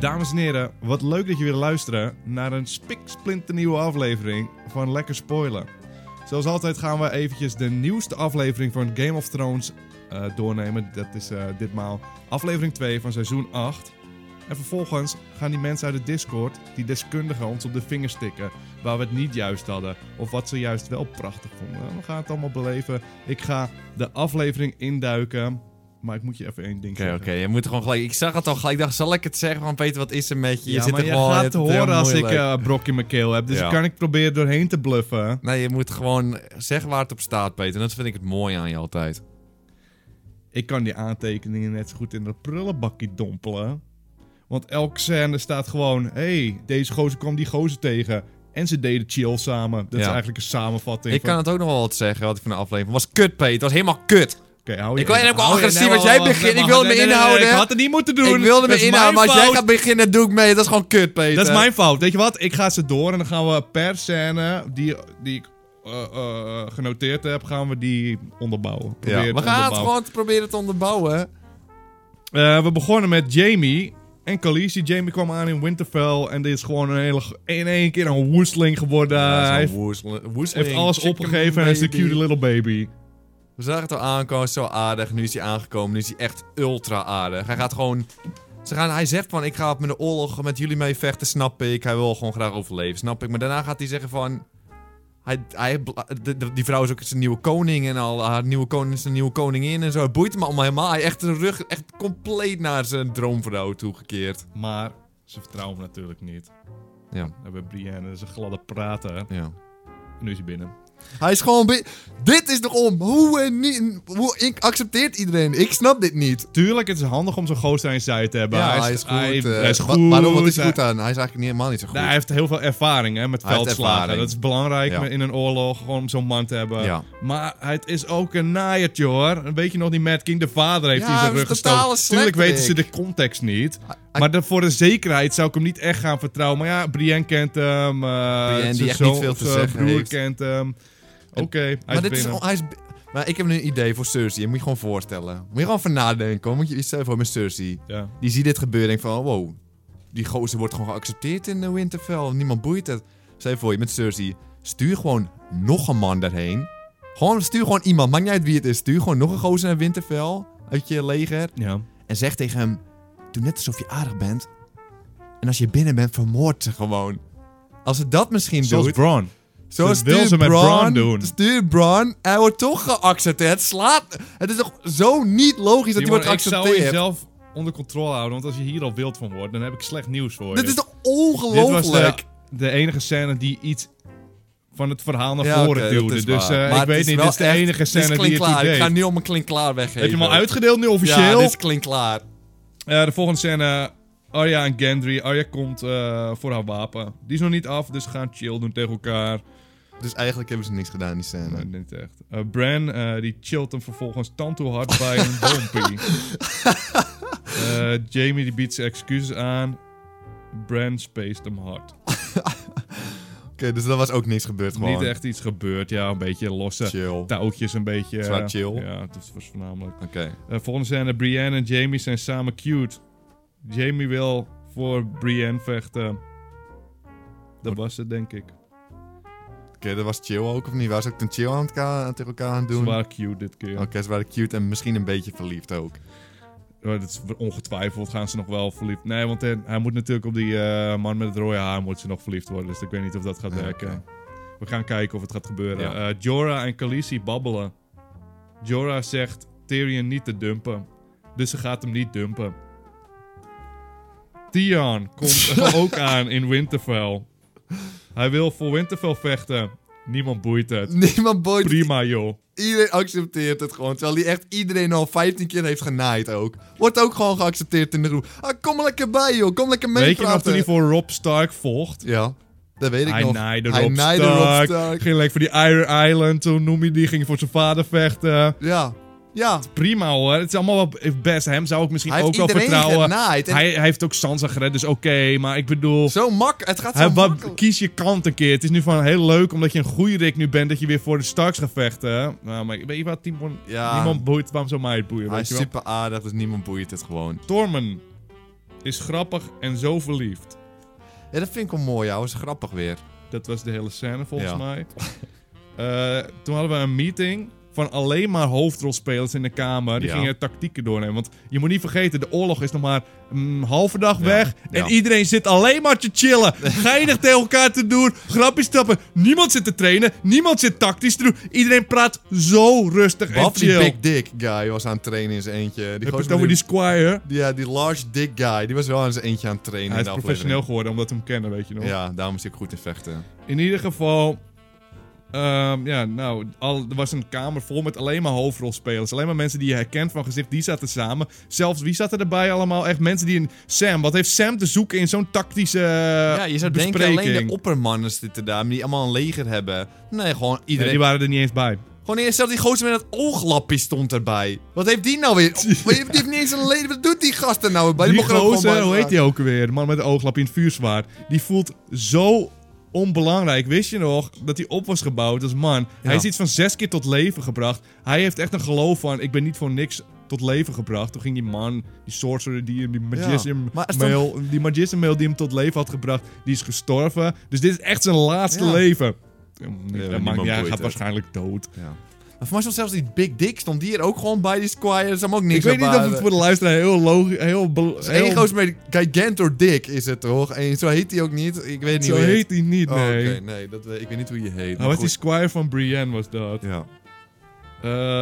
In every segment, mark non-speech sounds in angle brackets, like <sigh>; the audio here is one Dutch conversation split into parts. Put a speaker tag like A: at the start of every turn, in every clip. A: Dames en heren, wat leuk dat je weer luisteren naar een spiksplinternieuwe aflevering van Lekker Spoilen. Zoals altijd gaan we eventjes de nieuwste aflevering van Game of Thrones eh, doornemen. Dat is eh, ditmaal aflevering 2 van seizoen 8. En vervolgens gaan die mensen uit de Discord, die deskundigen, ons op de vingers tikken. Waar we het niet juist hadden. Of wat ze juist wel prachtig vonden. We gaan het allemaal beleven. Ik ga de aflevering induiken. Maar ik moet je even één ding
B: Oké,
A: zeggen.
B: oké. Je moet gewoon gelijk... Ik zag het al gelijk. Ik dacht, zal ik het zeggen? Want Peter, wat is er met je? Je
A: ja,
B: zit
A: maar
B: er
A: je
B: gewoon... je
A: gaat
B: hebt
A: te
B: het heel
A: horen als ik
B: moeilijk.
A: eh brok in mijn keel heb. Dus
B: Ja.
A: dan kan ik proberen doorheen te bluffen.
B: Nee, je moet gewoon zeggen waar het op staat, Peter. En dat vind ik het mooi aan je altijd.
A: Ik kan die aantekeningen net zo goed in dat prullenbakje dompelen. Want elke scène staat gewoon... hey, deze gozer kwam die gozer tegen. En ze deden chill samen. Dat is
B: Ja.
A: eigenlijk een samenvatting.
B: Ik
A: van-
B: kan het ook nog wel wat zeggen wat ik van de aflevering... Was kut, Peter. Het was helemaal kut.
A: Oké, hou je
B: Ik wil- en
A: even-
B: ik wil
A: hou je-
B: agressief,
A: nee,
B: want jij
A: wacht,
B: begint-
A: wacht,
B: ik wilde
A: nee,
B: me
A: nee, nee, nee,
B: inhouden.
A: Ik had het niet moeten doen.
B: ik wilde
A: Dat
B: me
A: is mijn
B: inhouden, maar als jij
A: fout.
B: gaat beginnen, doe ik mee. Dat is gewoon kut, Peter.
A: Dat is mijn fout. Weet je wat? Ik ga ze door en dan gaan we per scène die, die ik eh, eh, genoteerd heb, gaan we die onderbouwen. Probeer
B: Ja,
A: het
B: we gaan het
A: onderbouwen.
B: gewoon te proberen te onderbouwen.
A: Eh, we begonnen met Jamie en Khaleesi. Jamie kwam aan in Winterfell en dit is gewoon een hele, in één keer een woesteling geworden. hij heeft, heeft alles opgegeven en hij is de cutie little baby.
B: We zagen het al aankomen, zo aardig. Nu is hij aangekomen, nu is hij echt ultra aardig. Hij gaat gewoon... Ze gaan, hij zegt van, ik ga op mijn oorlog met jullie mee vechten, snap ik. Hij wil gewoon graag overleven, snap ik. Maar daarna gaat hij zeggen van... Hij, hij, de- de- die vrouw is ook zijn nieuwe koning en al. Haar nieuwe koning is een nieuwe koningin en zo. Het boeit hem allemaal helemaal. Hij heeft echt zijn rug echt compleet naar zijn droomvrouw toegekeerd.
A: Maar ze vertrouwen hem natuurlijk niet.
B: Ja.
A: We hebben Brienne, dat is een gladde prater.
B: Ja.
A: Nu is hij binnen.
B: Hij is gewoon... bi- Dit is nog om. Hoe, en niet, hoe ik accepteert iedereen? Ik snap dit niet.
A: Tuurlijk, het is handig om zo'n gozer aan je zijde te hebben.
B: Ja, hij is goed.
A: Hij,
B: eh,
A: hij is
B: wa-
A: goed.
B: Waarom? Wat is hij
A: Hij-
B: goed aan? Hij is eigenlijk niet, helemaal niet zo goed.
A: Nou, hij heeft heel veel ervaring hè, met
B: Hij heeft
A: veldslagen.
B: ervaring.
A: Dat is belangrijk
B: Ja.
A: in een oorlog, gewoon om zo'n man te hebben.
B: Ja.
A: Maar het is ook een naaiertje hoor. Weet je nog, die Mad King, de vader heeft
B: Ja,
A: hij in zijn
B: hij was
A: rug
B: een totale
A: gestoken. Tuurlijk weten ze de
B: slechterik.
A: context niet.
B: hij-
A: maar de- voor de zekerheid zou ik hem niet echt gaan vertrouwen. Maar ja, Brienne kent hem. eh,
B: Brienne, die
A: zijn
B: echt niet
A: zoon-
B: veel te
A: zijn
B: zeggen
A: broer
B: heeft.
A: kent hem. Oké, hij
B: maar,
A: is
B: dit is,
A: binnen.
B: hij is, maar ik heb nu een idee voor Cersei. Je moet je gewoon voorstellen. Moet je gewoon van nadenken. hoor. Moet je jezelf voor met Cersei.
A: Ja.
B: Die ziet dit gebeuren en denkt van... oh, Wow, die gozer wordt gewoon geaccepteerd in eh, Winterfell. Niemand boeit het. Zij voor je met Cersei. Stuur gewoon nog een man daarheen. Gewoon, stuur gewoon iemand. Maakt niet uit wie het is. Stuur gewoon nog een gozer naar Winterfell. Uit je leger.
A: ja.
B: En zeg tegen hem: Doe net alsof je aardig bent. En als je binnen bent, vermoord ze gewoon. Als ze dat misschien
A: Zoals
B: doet.
A: Bron.
B: Zo
A: dat wil
B: stuurt
A: ze met
B: Bron-
A: Bron doen.
B: Stuurt Bron. Hij wordt toch geaccepteerd. Slaat. Het is toch zo niet logisch dat hij wordt
A: Simon, ik zou
B: geaccepteerd.
A: jezelf onder controle houden. Want als je hier al wild van wordt, dan heb ik slecht nieuws voor je.
B: Dit is toch
A: Dit was de,
B: ongelooflijk?
A: de enige scène die iets van het verhaal naar
B: Ja,
A: voren
B: oké, dat
A: duwde.
B: is
A: eh, Dus
B: waar.
A: eh,
B: Maar
A: ik
B: het
A: weet
B: is
A: niet,
B: wel
A: dit is de
B: echt-
A: enige
B: dit is
A: scène die het
B: klinkklaar.
A: hier deed.
B: Ik ga nu al mijn klinkklaar weggeven.
A: Heb je hem al uitgedeeld nu officieel?
B: Ja, dit is klinkklaar.
A: Eh, de volgende scène. Arya en Gendry. Arya komt eh, voor haar wapen. Die is nog niet af, dus ze gaan chill doen tegen elkaar.
B: Dus eigenlijk hebben ze niks gedaan in die scène.
A: Nee, niet echt. Eh, Bran, eh, die chillt hem vervolgens tand toe hard bij een
B: <laughs>
A: bompie. Eh, Jamie, die biedt zijn excuses aan. Bran spaced hem hard.
B: Oké, dus dat was ook niks gebeurd gewoon.
A: Niet echt eh, iets gebeurd, ja. Een beetje losse
B: Chill. Oké.
A: touwtjes, een beetje... eh,
B: Zwaar chill.
A: Ja, het was voornamelijk... Eh, volgende scène, Brienne en Jamie zijn samen cute. Jamie wil voor Brienne vechten. Dat was het, denk ik.
B: Oké, dat was chill ook, of niet? Waar ze ook een chill aan het ka- tegen elkaar aan het
A: Ze
B: doen? Oh,
A: waren cute dit keer.
B: Oké, ze waren cute en misschien een beetje verliefd ook.
A: Maar Oh, dat is ongetwijfeld gaan ze nog wel verliefd. Nee, want hij, hij moet natuurlijk op die eh, man met het rode haar moet ze nog verliefd worden. Dus ik weet niet of dat gaat
B: Ja,
A: werken.
B: Ah, oké.
A: We gaan kijken of het gaat gebeuren.
B: Ja.
A: Eh, Jorah en Khaleesi babbelen. Jorah zegt Tyrion niet te dumpen. Dus ze gaat hem niet dumpen. Theon komt
B: <laughs>
A: ook aan in Winterfell. Hij wil voor Winterfell vechten. Niemand boeit het.
B: <laughs> Niemand boeit het.
A: Prima joh.
B: Iedereen accepteert het gewoon. Terwijl hij echt iedereen al 15 keer heeft genaaid ook. Wordt ook gewoon geaccepteerd in de groep. Ah, kom er lekker bij, joh. Kom lekker mee
A: Weet je nog
B: praten.
A: toen hij voor Rob Stark vocht?
B: Ja, dat weet ik
A: Hij
B: nog.
A: naaide
B: hij
A: Rob
B: naaide
A: Stark.
B: Rob Stark.
A: Ging lekker voor die Iron Island, toen noem je die, ging voor zijn vader vechten.
B: Ja, ja.
A: Prima hoor, het is allemaal wel best. Hem zou ik misschien
B: Hij
A: ook
B: heeft
A: wel
B: iedereen
A: vertrouwen.
B: genaaid. En
A: Hij, hij heeft ook Sansa gered, dus oké, maar ik bedoel...
B: Zo mak. Het gaat zo
A: Hij, wat-
B: makkelijk.
A: kies je kant een keer. Het is nu van heel leuk, omdat je een goede Rick nu bent, dat je weer voor de Starks gaat vechten. Nou, maar weet je wat, Timon,
B: Ja.
A: niemand boeit, waarom zou mij het boeien,
B: Hij
A: weet
B: is
A: je wel?
B: super aardig, dus niemand boeit het gewoon.
A: Tormen is grappig en zo verliefd.
B: Ja, dat vind ik wel mooi, ouwe. is grappig weer.
A: Dat was de hele scène volgens
B: Ja.
A: mij. <laughs> Eh, toen hadden we een meeting van alleen maar hoofdrolspelers in de kamer. Die
B: Ja.
A: gingen tactieken doornemen. Want je moet niet vergeten, de oorlog is nog maar een halve dag weg. En
B: Ja.
A: iedereen zit alleen maar te
B: <laughs>
A: chillen. Geinig tegen elkaar te doen. Grapjes trappen. Niemand zit te trainen. Niemand zit tactisch te doen. Iedereen praat zo rustig en
B: Behalve die
A: chill.
B: big dick guy was aan het trainen in zijn eentje. Die
A: Heb je
B: gozer
A: het over
B: met
A: die squire?
B: die- Ja, die large dick guy. Die was wel aan zijn eentje aan het trainen
A: Hij
B: in
A: is
B: de
A: professioneel
B: aflevering.
A: geworden omdat we hem kennen, weet je nog.
B: Ja, daarom is hij ook goed in vechten.
A: In ieder geval. ehm, ja, nou, al, er was een kamer vol met alleen maar hoofdrolspelers. Alleen maar mensen die je herkent van gezicht, die zaten samen. Zelfs wie zaten erbij allemaal? Echt mensen die een. Sam, wat heeft Sam te zoeken in zo'n tactische.
B: ja, je zou denken alleen de oppermannen zitten daar, maar die allemaal een leger hebben. Nee, gewoon iedereen.
A: die waren er niet eens bij.
B: Gewoon eerst zelfs die gozer met dat ooglapje stond erbij. Wat heeft die nou
A: <laughs>
B: weer? Oh, Die heeft niet eens een leden. Wat doet die gast er nou weer bij?
A: Die
B: mocht er ook gewoon
A: gozer,
B: bij
A: hoe heet
B: staan.
A: die ook weer? De man met de ooglap in het vuurzwaard. Die voelt zo onbelangrijk. Wist je nog dat hij op was gebouwd als man? Hij is iets van zes keer tot leven gebracht. Hij heeft echt een geloof van, ik ben niet voor niks tot leven gebracht. Toen ging die man, die sorcerer, die, die magician
B: maar als
A: male, die magician male die hem tot leven had gebracht, die is gestorven. Dus dit is echt zijn laatste
B: Ja.
A: leven. dat maakt
B: niemand
A: niet uit, hij
B: boeit
A: gaat
B: het.
A: waarschijnlijk dood.
B: Ja. Maar voor mij stond zelfs die Big Dick stond die er ook gewoon bij, die Squire. Dat is hem ook niks
A: Ik weet
B: aan
A: niet of het
B: waren.
A: voor de luisteraar heel logisch... Heel, bel-
B: Het eh, is één
A: heel-
B: gozer met Gigantor Dick is het toch? En zo heet hij ook niet. Ik weet niet
A: zo
B: hoe hij
A: heet hij niet,
B: Oh,
A: nee. Oh,
B: oké, nee, dat, weet- ik weet niet hoe je heet.
A: Hij
B: maar
A: was die squire van Brienne, was dat.
B: goed. Ja.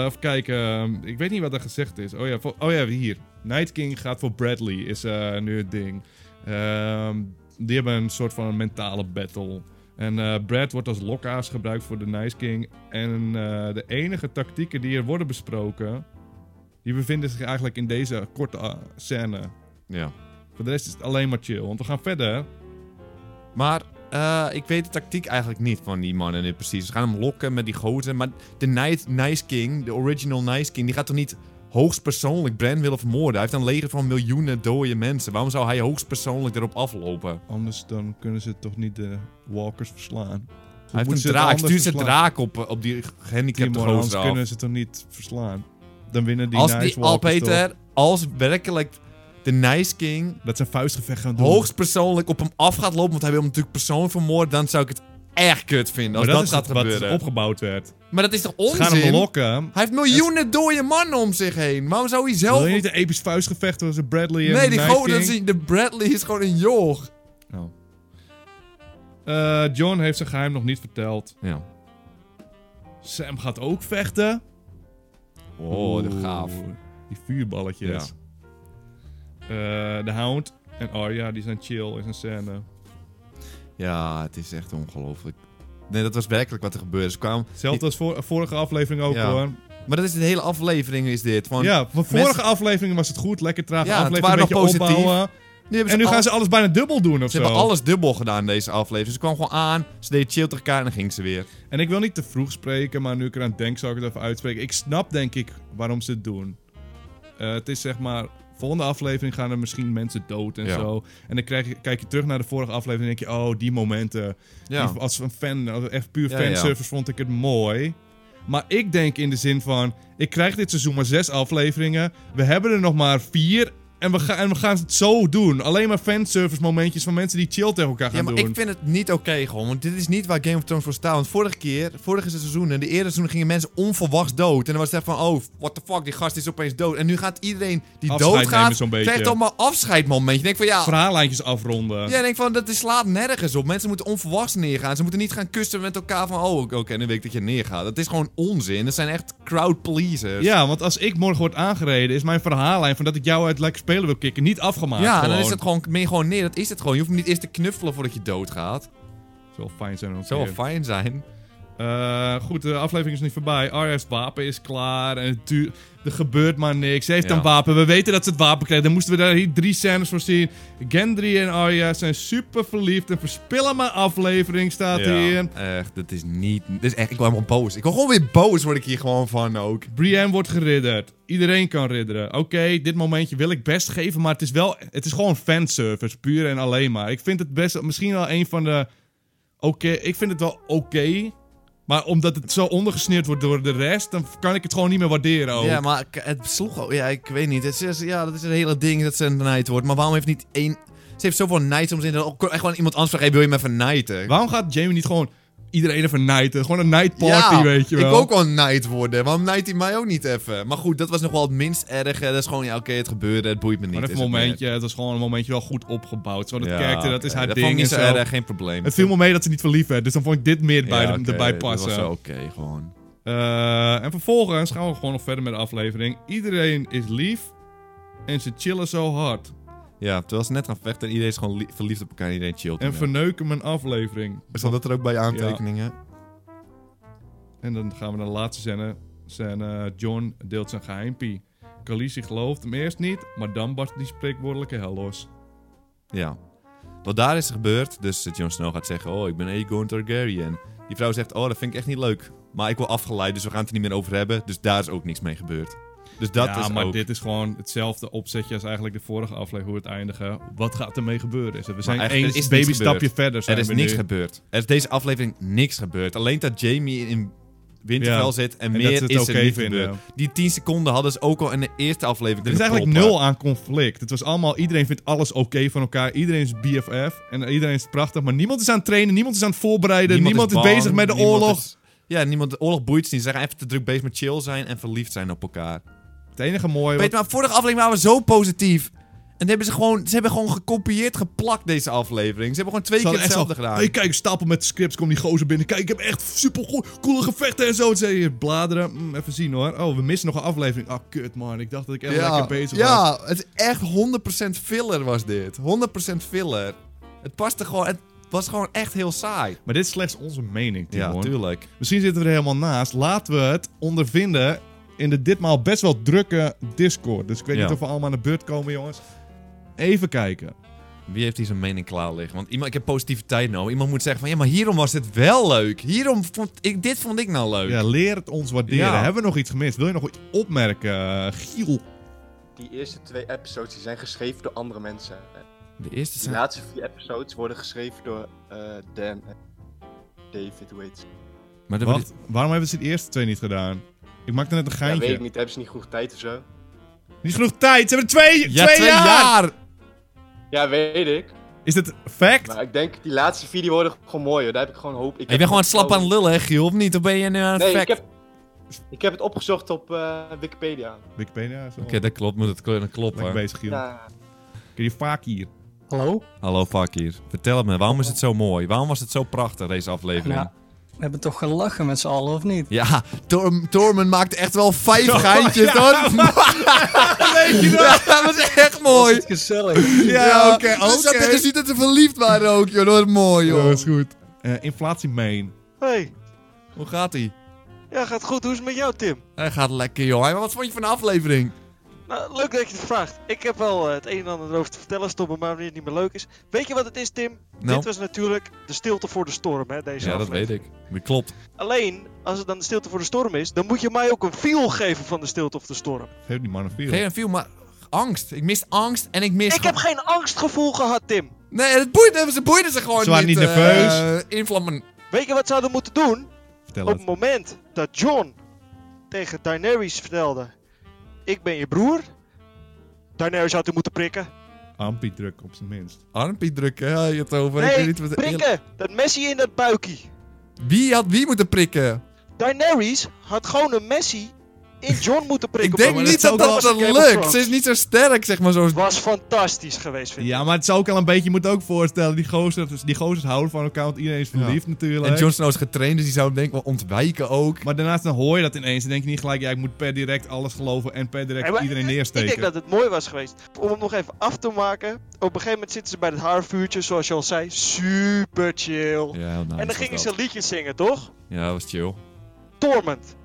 A: Eh, even kijken, ehm, ik weet niet wat er gezegd is. Oh ja, voor- oh ja hier. Night King gaat voor Bradley, is eh, nu het ding. Ehm, die hebben een soort van mentale battle. En eh, Brad wordt als lokaas gebruikt voor de Night King. En eh, de enige tactieken die er worden besproken... die bevinden zich eigenlijk in deze korte ah, scène.
B: ja.
A: Voor de rest is het alleen maar chill. Want we gaan verder.
B: Maar eh, ik weet de tactiek eigenlijk niet van die mannen nu precies. Ze gaan hem lokken met die gozer. Maar de Night, Nice King, de original Nice King, die gaat toch niet hoogstpersoonlijk Bran willen vermoorden? Hij heeft een leger van miljoenen dode mensen. Waarom zou hij hoogstpersoonlijk erop aflopen?
A: Anders dan kunnen ze toch niet de walkers verslaan.
B: Hij heeft
A: moeten
B: een
A: ze het
B: draak.
A: anders
B: Stuur zijn
A: verslaan?
B: draak op, eh, op die gehandicapte
A: Timo, anders
B: gozer af.
A: kunnen ze toch niet verslaan. Dan winnen die
B: Als
A: Night
B: die
A: Walkers
B: al
A: toch.
B: Peter, als werkelijk de Nice King
A: Dat zijn vuistgevecht gaan doen.
B: hoogstpersoonlijk op hem af gaat lopen, want hij wil hem natuurlijk persoonlijk vermoorden, dan zou ik het echt kut vinden als
A: Maar dat,
B: dat,
A: is
B: gaat
A: het wat
B: gebeuren.
A: opgebouwd werd.
B: Maar dat is toch
A: Ze gaan hem
B: onzin?
A: lokken.
B: Hij heeft miljoenen dode mannen om zich heen. Waarom zou hij zelf...
A: Wil je niet een episch vuistgevecht tussen Bradley en
B: nee, die
A: Night
B: goden
A: King?
B: zien. De Bradley is gewoon een joch.
A: Oh. Eh, John heeft zijn geheim nog niet verteld.
B: Ja.
A: Sam gaat ook vechten.
B: Oh, de gaaf.
A: Oeh, Die vuurballetjes. Eh, de Hound en Arya, die zijn chill in zijn scène.
B: Ja, het is echt ongelooflijk. Nee, dat was werkelijk wat er gebeurde. Ze kwamen...
A: Hetzelfde als voor- vorige aflevering ook
B: Ja.
A: hoor.
B: Maar dat is de hele aflevering is dit. Van,
A: Ja, van vorige
B: mensen-
A: aflevering was het goed. Lekker traag
B: Ja, het
A: aflevering,
B: waren
A: een beetje
B: nog positief.
A: opbouwen.
B: hebben
A: En nu
B: al-
A: gaan ze alles bijna dubbel doen of
B: Ze
A: zo.
B: hebben alles dubbel gedaan in deze aflevering. Ze kwam gewoon aan, ze deed chill tegen elkaar en dan ging ze weer.
A: En ik wil niet te vroeg spreken, maar nu ik eraan denk, zal ik het even uitspreken. Ik snap denk ik waarom ze het doen. Eh, het is zeg maar, volgende aflevering gaan er misschien mensen dood en
B: Ja.
A: zo. En dan krijg je, kijk je terug naar de vorige aflevering en denk je, oh, die momenten.
B: Ja.
A: Die- als een fan, als echt puur
B: Ja, ja.
A: fanservice vond ik het mooi. Maar ik denk in de zin van, ik krijg dit seizoen maar zes afleveringen. We hebben er nog maar vier. En we, gaan en we gaan het zo doen. Alleen maar fanservice momentjes van mensen die chill tegen elkaar gaan
B: Ja, maar
A: doen.
B: ik vind het niet oké gewoon. Want dit is niet waar Game of Thrones voor staat. Want vorige keer, vorige seizoenen, de eerdere seizoenen gingen mensen onverwachts dood. En dan was het echt van, oh, what the fuck, die gast is opeens dood. En nu gaat iedereen die
A: Afscheid nemen
B: doodgaat,
A: zo'n beetje.
B: krijgt allemaal afscheidmomentje. En ik van, ja,
A: Verhaallijntjes afronden.
B: ja, en ik van, dat is- slaat nergens op. Mensen moeten onverwachts neergaan. Ze moeten niet gaan kussen met elkaar van, oh, oké, dan weet ik dat je neergaat. Dat is gewoon onzin. Dat zijn echt crowd pleasers.
A: Ja, want als ik morgen word aangereden, is mijn verhaallijn van dat ik jou uit lekker spelen wil kicken niet afgemaakt.
B: Ja,
A: gewoon.
B: dan is het gewoon, ben je gewoon neer. Dat is het gewoon. Je hoeft hem niet eerst te knuffelen voordat je doodgaat.
A: Zal fijn zijn. om te
B: Zou wel
A: keer.
B: fijn zijn.
A: Eh, goed, de aflevering is niet voorbij. Arya's wapen is klaar en het duurt. Er gebeurt maar niks. Ze heeft
B: Ja.
A: een wapen. We weten dat ze het wapen krijgt. Dan moesten we daar hier drie scènes voor zien. Gendry en Arya zijn super verliefd en verspillen mijn aflevering, staat hier.
B: Echt, dat is niet. Dit is echt, ik word helemaal boos. Ik word gewoon weer boos, word ik hier gewoon van ook.
A: Brienne wordt geridderd. Iedereen kan ridderen. Oké, dit momentje wil ik best geven, maar het is wel... Het is gewoon fanservice, puur en alleen maar. Ik vind het best... Misschien wel een van de... Oké, ik vind het wel oké. Maar omdat het zo ondergesneerd wordt door de rest, dan kan ik het gewoon niet meer waarderen ook.
B: Ja, maar k- het sloeg ook. Ja, ik weet niet. Het is, ja, dat is een hele ding dat ze een night wordt. Maar waarom heeft niet één. Ze heeft zoveel nights om ze in. dat ook Gewoon iemand anders vragen: hey, wil je me even nighten?
A: Waarom gaat Jamie niet gewoon iedereen even nighten? Gewoon een night party,
B: ja,
A: weet je wel.
B: Ik wil ook wel night worden. Waarom night hij mij ook niet even? Maar goed, dat was nog wel het minst erg. Dat is gewoon, ja, oké, het gebeurde. Het boeit me niet.
A: Maar even
B: is
A: een
B: het meer.
A: momentje, het was gewoon een momentje wel goed opgebouwd. Zo dat
B: Ja,
A: karakter, dat is
B: oké,
A: haar
B: dat
A: ding
B: Vond ik
A: en
B: niet
A: zo.
B: zo erg, geen probleem.
A: Het viel me mee dat ze niet verliefd werd, dus dan vond ik dit meer bij
B: Ja,
A: de-
B: oké,
A: erbij
B: Dat
A: passen.
B: was wel oké, gewoon.
A: Eh, en vervolgens gaan we gewoon nog verder met de aflevering. Iedereen is lief en ze chillen zo hard.
B: Ja, terwijl ze net gaan vechten en iedereen is gewoon li- verliefd op elkaar en iedereen chillt.
A: En
B: En
A: verneuken mijn aflevering.
B: Stond dat er ook bij je aantekeningen?
A: En dan gaan we naar de laatste scène. scène John deelt zijn geheimpie. Khaleesi gelooft hem eerst niet, maar dan barst die spreekwoordelijke hel los.
B: Ja. Wat daar is gebeurd, dus dat Jon Snow gaat zeggen: Oh, ik ben Aegon Targaryen. Die vrouw zegt: Oh, dat vind ik echt niet leuk. Maar ik wil afgeleid, dus we gaan het er niet meer over hebben. Dus daar is ook niks mee gebeurd. Dus dat
A: ja,
B: is
A: maar
B: ook.
A: dit is gewoon hetzelfde opzetje als eigenlijk de vorige aflevering, hoe het eindigen. Wat gaat ermee gebeuren? We zijn
B: eigenlijk,
A: één
B: er is niks
A: babystapje
B: gebeurd.
A: verder. Zijn
B: Er is
A: we
B: niks
A: nu.
B: gebeurd. Er is deze aflevering niks gebeurd. Alleen dat Jamie in Winterfell
A: Ja.
B: zit en,
A: dat
B: meer
A: ze het
B: is
A: oké
B: er niet
A: vinden.
B: gebeurd. Die 10 seconden hadden ze ook al in de eerste aflevering
A: Er is
B: kunnen
A: eigenlijk
B: proppen.
A: nul aan conflict. Het was allemaal, iedereen vindt alles oké van elkaar. Iedereen is BFF en iedereen is prachtig. Maar niemand is aan het trainen, niemand is aan het voorbereiden. Niemand, is,
B: bang,
A: bezig met de
B: niemand
A: oorlog.
B: is- ja, niemand, de oorlog boeit ze niet. Ze zijn even te druk bezig met chill zijn en verliefd zijn op elkaar.
A: Het enige mooie...
B: Weet je, maar vorige aflevering waren we zo positief. En hebben ze, gewoon, ze hebben gewoon gekopieerd, geplakt deze aflevering. Ze hebben gewoon twee
A: ze
B: keer
A: hadden echt zo-
B: hetzelfde gedaan.
A: Hey, kijk, stapel met scripts, komt die gozer binnen. Kijk, ik heb echt super coole gevechten en zo. En zei je, bladeren, Mm, even zien hoor. Oh, we missen nog een aflevering. Ah, kut man, ik dacht dat ik echt lekker bezig was.
B: ja, het is echt 100% filler was dit. 100% filler. Het paste gewoon, het was gewoon echt heel saai.
A: Maar dit is slechts onze mening,
B: Ja,
A: Timon.
B: tuurlijk.
A: Misschien zitten we er helemaal naast. Laten we het ondervinden in de ditmaal best wel drukke Discord. Dus ik weet
B: Ja.
A: niet of we allemaal aan de beurt komen, jongens. Even kijken.
B: Wie heeft hier zijn mening klaar liggen? Want iemand, ik heb positiviteit nodig. Iemand moet zeggen van, ja, maar hierom was dit wel leuk. Hierom vond ik, dit vond ik nou leuk.
A: Ja, leer het ons waarderen.
B: Ja.
A: Hebben we nog iets gemist? Wil je nog iets opmerken, eh, Giel?
C: Die eerste twee episodes die zijn geschreven door andere mensen.
B: De eerste
C: De
B: zijn...
C: laatste vier episodes worden geschreven door eh, Dan en David, hoe heet ze?
B: Maar de-
A: Wacht, waarom hebben ze de eerste twee niet gedaan? Ik maakte net een
C: Ja,
A: geintje.
C: weet ik niet, hebben ze niet genoeg tijd of zo?
A: Niet genoeg tijd. Ze hebben twee,
B: Ja,
A: twee,
B: twee
A: jaar.
B: jaar!
C: Ja, weet ik.
A: Is dit fact?
C: Maar ik denk, die laatste vier die worden gewoon mooi hoor. Daar heb ik gewoon hoop. Ik
B: Ik ben gewoon aan het slappen aan het lullen, hè, Giel, of niet? Of ben je nu aan het
C: Nee,
B: vechten?
C: ik heb, ik heb het opgezocht op eh, Wikipedia.
A: Wikipedia is wel
B: Oké, dat klopt. Moet het kunnen kloppen.
A: lekker bezig, Giel.
C: Ja,
A: Kun je vaak hier?
D: Hallo?
B: Hallo Fakir. Vertel het me. Waarom is het zo mooi? Waarom was het zo prachtig, deze aflevering?
D: Nou,
B: Ja,
D: we hebben toch gelachen met z'n allen, of niet?
B: Torm- Tormen maakte echt wel vijf geintjes,
A: ja,
B: <laughs> hoor. Ja, dat was echt
D: Was
B: mooi.
D: het gezellig.
B: Ja, oké.
A: oké.
B: Dus dat- dus niet dat ze verliefd waren ook, joh. Dat was mooi,
A: Ja,
B: joh.
A: dat is goed. Eh, inflatie main.
E: Hey,
B: Hoe gaat ie?
E: ja, gaat goed. Hoe is het met jou, Tim?
B: Hij gaat lekker, joh. Hey, maar wat vond je van de aflevering?
E: Nou, leuk dat je het vraagt. Ik heb wel eh, het een en ander over te vertellen, stoppen, maar wanneer het niet meer leuk is. Weet je wat het is, Tim?
B: Nou?
E: Dit was natuurlijk de stilte voor de storm, hè, deze aflevering.
B: ik. Dat klopt.
E: Alleen, als het dan de stilte voor de storm is, dan moet je mij ook een feel geven van de stilte of de storm.
A: Geef die man een vier.
B: Geen veel, maar angst. Ik mis angst en ik mis...
E: Ik heb geen angstgevoel gehad, Tim.
B: Nee, het boeide, ze boeiden ze gewoon
A: Ze waren niet
B: eh,
A: nerveus.
B: inflammen-
E: Weet je wat ze hadden moeten doen?
A: Vertel
E: Op
A: het.
E: het moment dat John tegen Daenerys vertelde: Ik ben je broer. Daenerys had hem moeten prikken.
A: Ampie druk op zijn minst.
B: Armpie drukken, ja, je het over. ik weet
E: Nee,
B: niet wat
E: prikken! Dat messie in dat buikie.
B: Wie had wie moeten prikken?
E: Daenerys had gewoon een messie in John moeten prikken.
B: ik
E: op
B: denk
E: dat
B: niet
E: moment.
B: dat dat,
E: was een Game of
B: lukt.
E: Thrones.
B: Ze is niet zo sterk, zeg maar zo.
E: Was fantastisch geweest, vind ik.
A: Ja, maar het zou ook al een beetje, je moet ook voorstellen, die gozers, dus die gozers houden van elkaar, want iedereen is verliefd natuurlijk.
B: En Jon Snow is getraind, dus die zou hem denk ik wel ontwijken ook.
A: Maar daarnaast dan hoor je dat ineens en denk je niet gelijk, ja, ik moet per direct alles geloven en per direct
E: Ja, maar
A: iedereen
E: ik-
A: neersteken.
E: Ik denk dat het mooi was geweest. Om het nog even af te maken. Op een gegeven moment zitten ze bij het haarvuurtje, zoals je al zei. Super chill.
B: Ja, nou,
E: en dan gingen ze liedjes zingen, toch?
B: Ja, dat was chill.
E: Torment.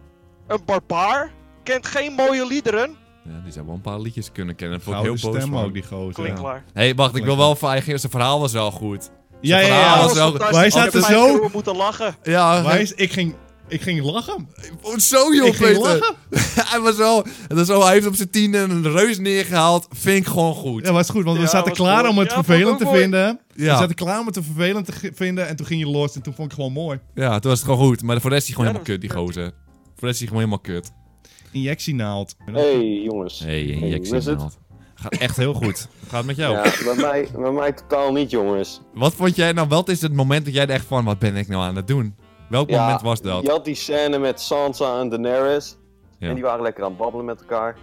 E: Een barbaar kent geen mooie liederen.
B: Ja, die zou wel een paar liedjes kunnen kennen. Dat vond ik
A: Gouden
B: heel boos
A: stem
B: van.
A: ook, die gozer.
E: Klinkt klaar.
B: Hé, wacht, ik wil wel van... hij ging- Zijn verhaal was wel goed.
A: Ja, ja, ja. ja,
B: verhaal was
A: was-
B: wel-
E: fantastisch.
A: wij
E: Ik heb
A: zaten
E: vijf
A: zo- <laughs>
E: keer moeten lachen.
B: Ja,
A: Wijs, ik ging Ik ging lachen.
B: Oh, zo joh,
A: Ik ging
B: Peter. <laughs> hij was wel, dat is wel, hij heeft op zijn tiende een reus neergehaald. Vind ik gewoon goed.
A: Ja, was goed, want we
E: Ja,
A: zaten
E: was
A: klaar
E: mooi.
A: om het
E: Ja, vond ik
A: vervelend
E: ook
A: te
E: mooi.
A: vinden.
B: Ja.
A: We zaten klaar om het te vervelend te ge- vinden. En toen ging je los en toen vond ik het gewoon mooi.
B: Ja, toen was het gewoon goed. Maar voor de rest is hij gewoon
E: Ja,
B: helemaal kut, die
E: dat
B: gozer. Voor de rest is hij gewoon helemaal kut.
A: Injectienaald.
F: Hey jongens.
B: Nee,
F: Hey, Oh, hoe is
B: injectie
F: het?
B: naald. Gaat echt heel goed. Hoe Gaat het met jou.
F: Ja, bij mij, bij mij totaal niet jongens.
B: Wat vond jij nou, wat is het moment dat jij er echt van, wat ben ik nou aan het doen? Welk
F: Ja,
B: moment was dat?
F: Je had die scène met Sansa en Daenerys.
B: Ja.
F: En die waren lekker aan het babbelen met elkaar.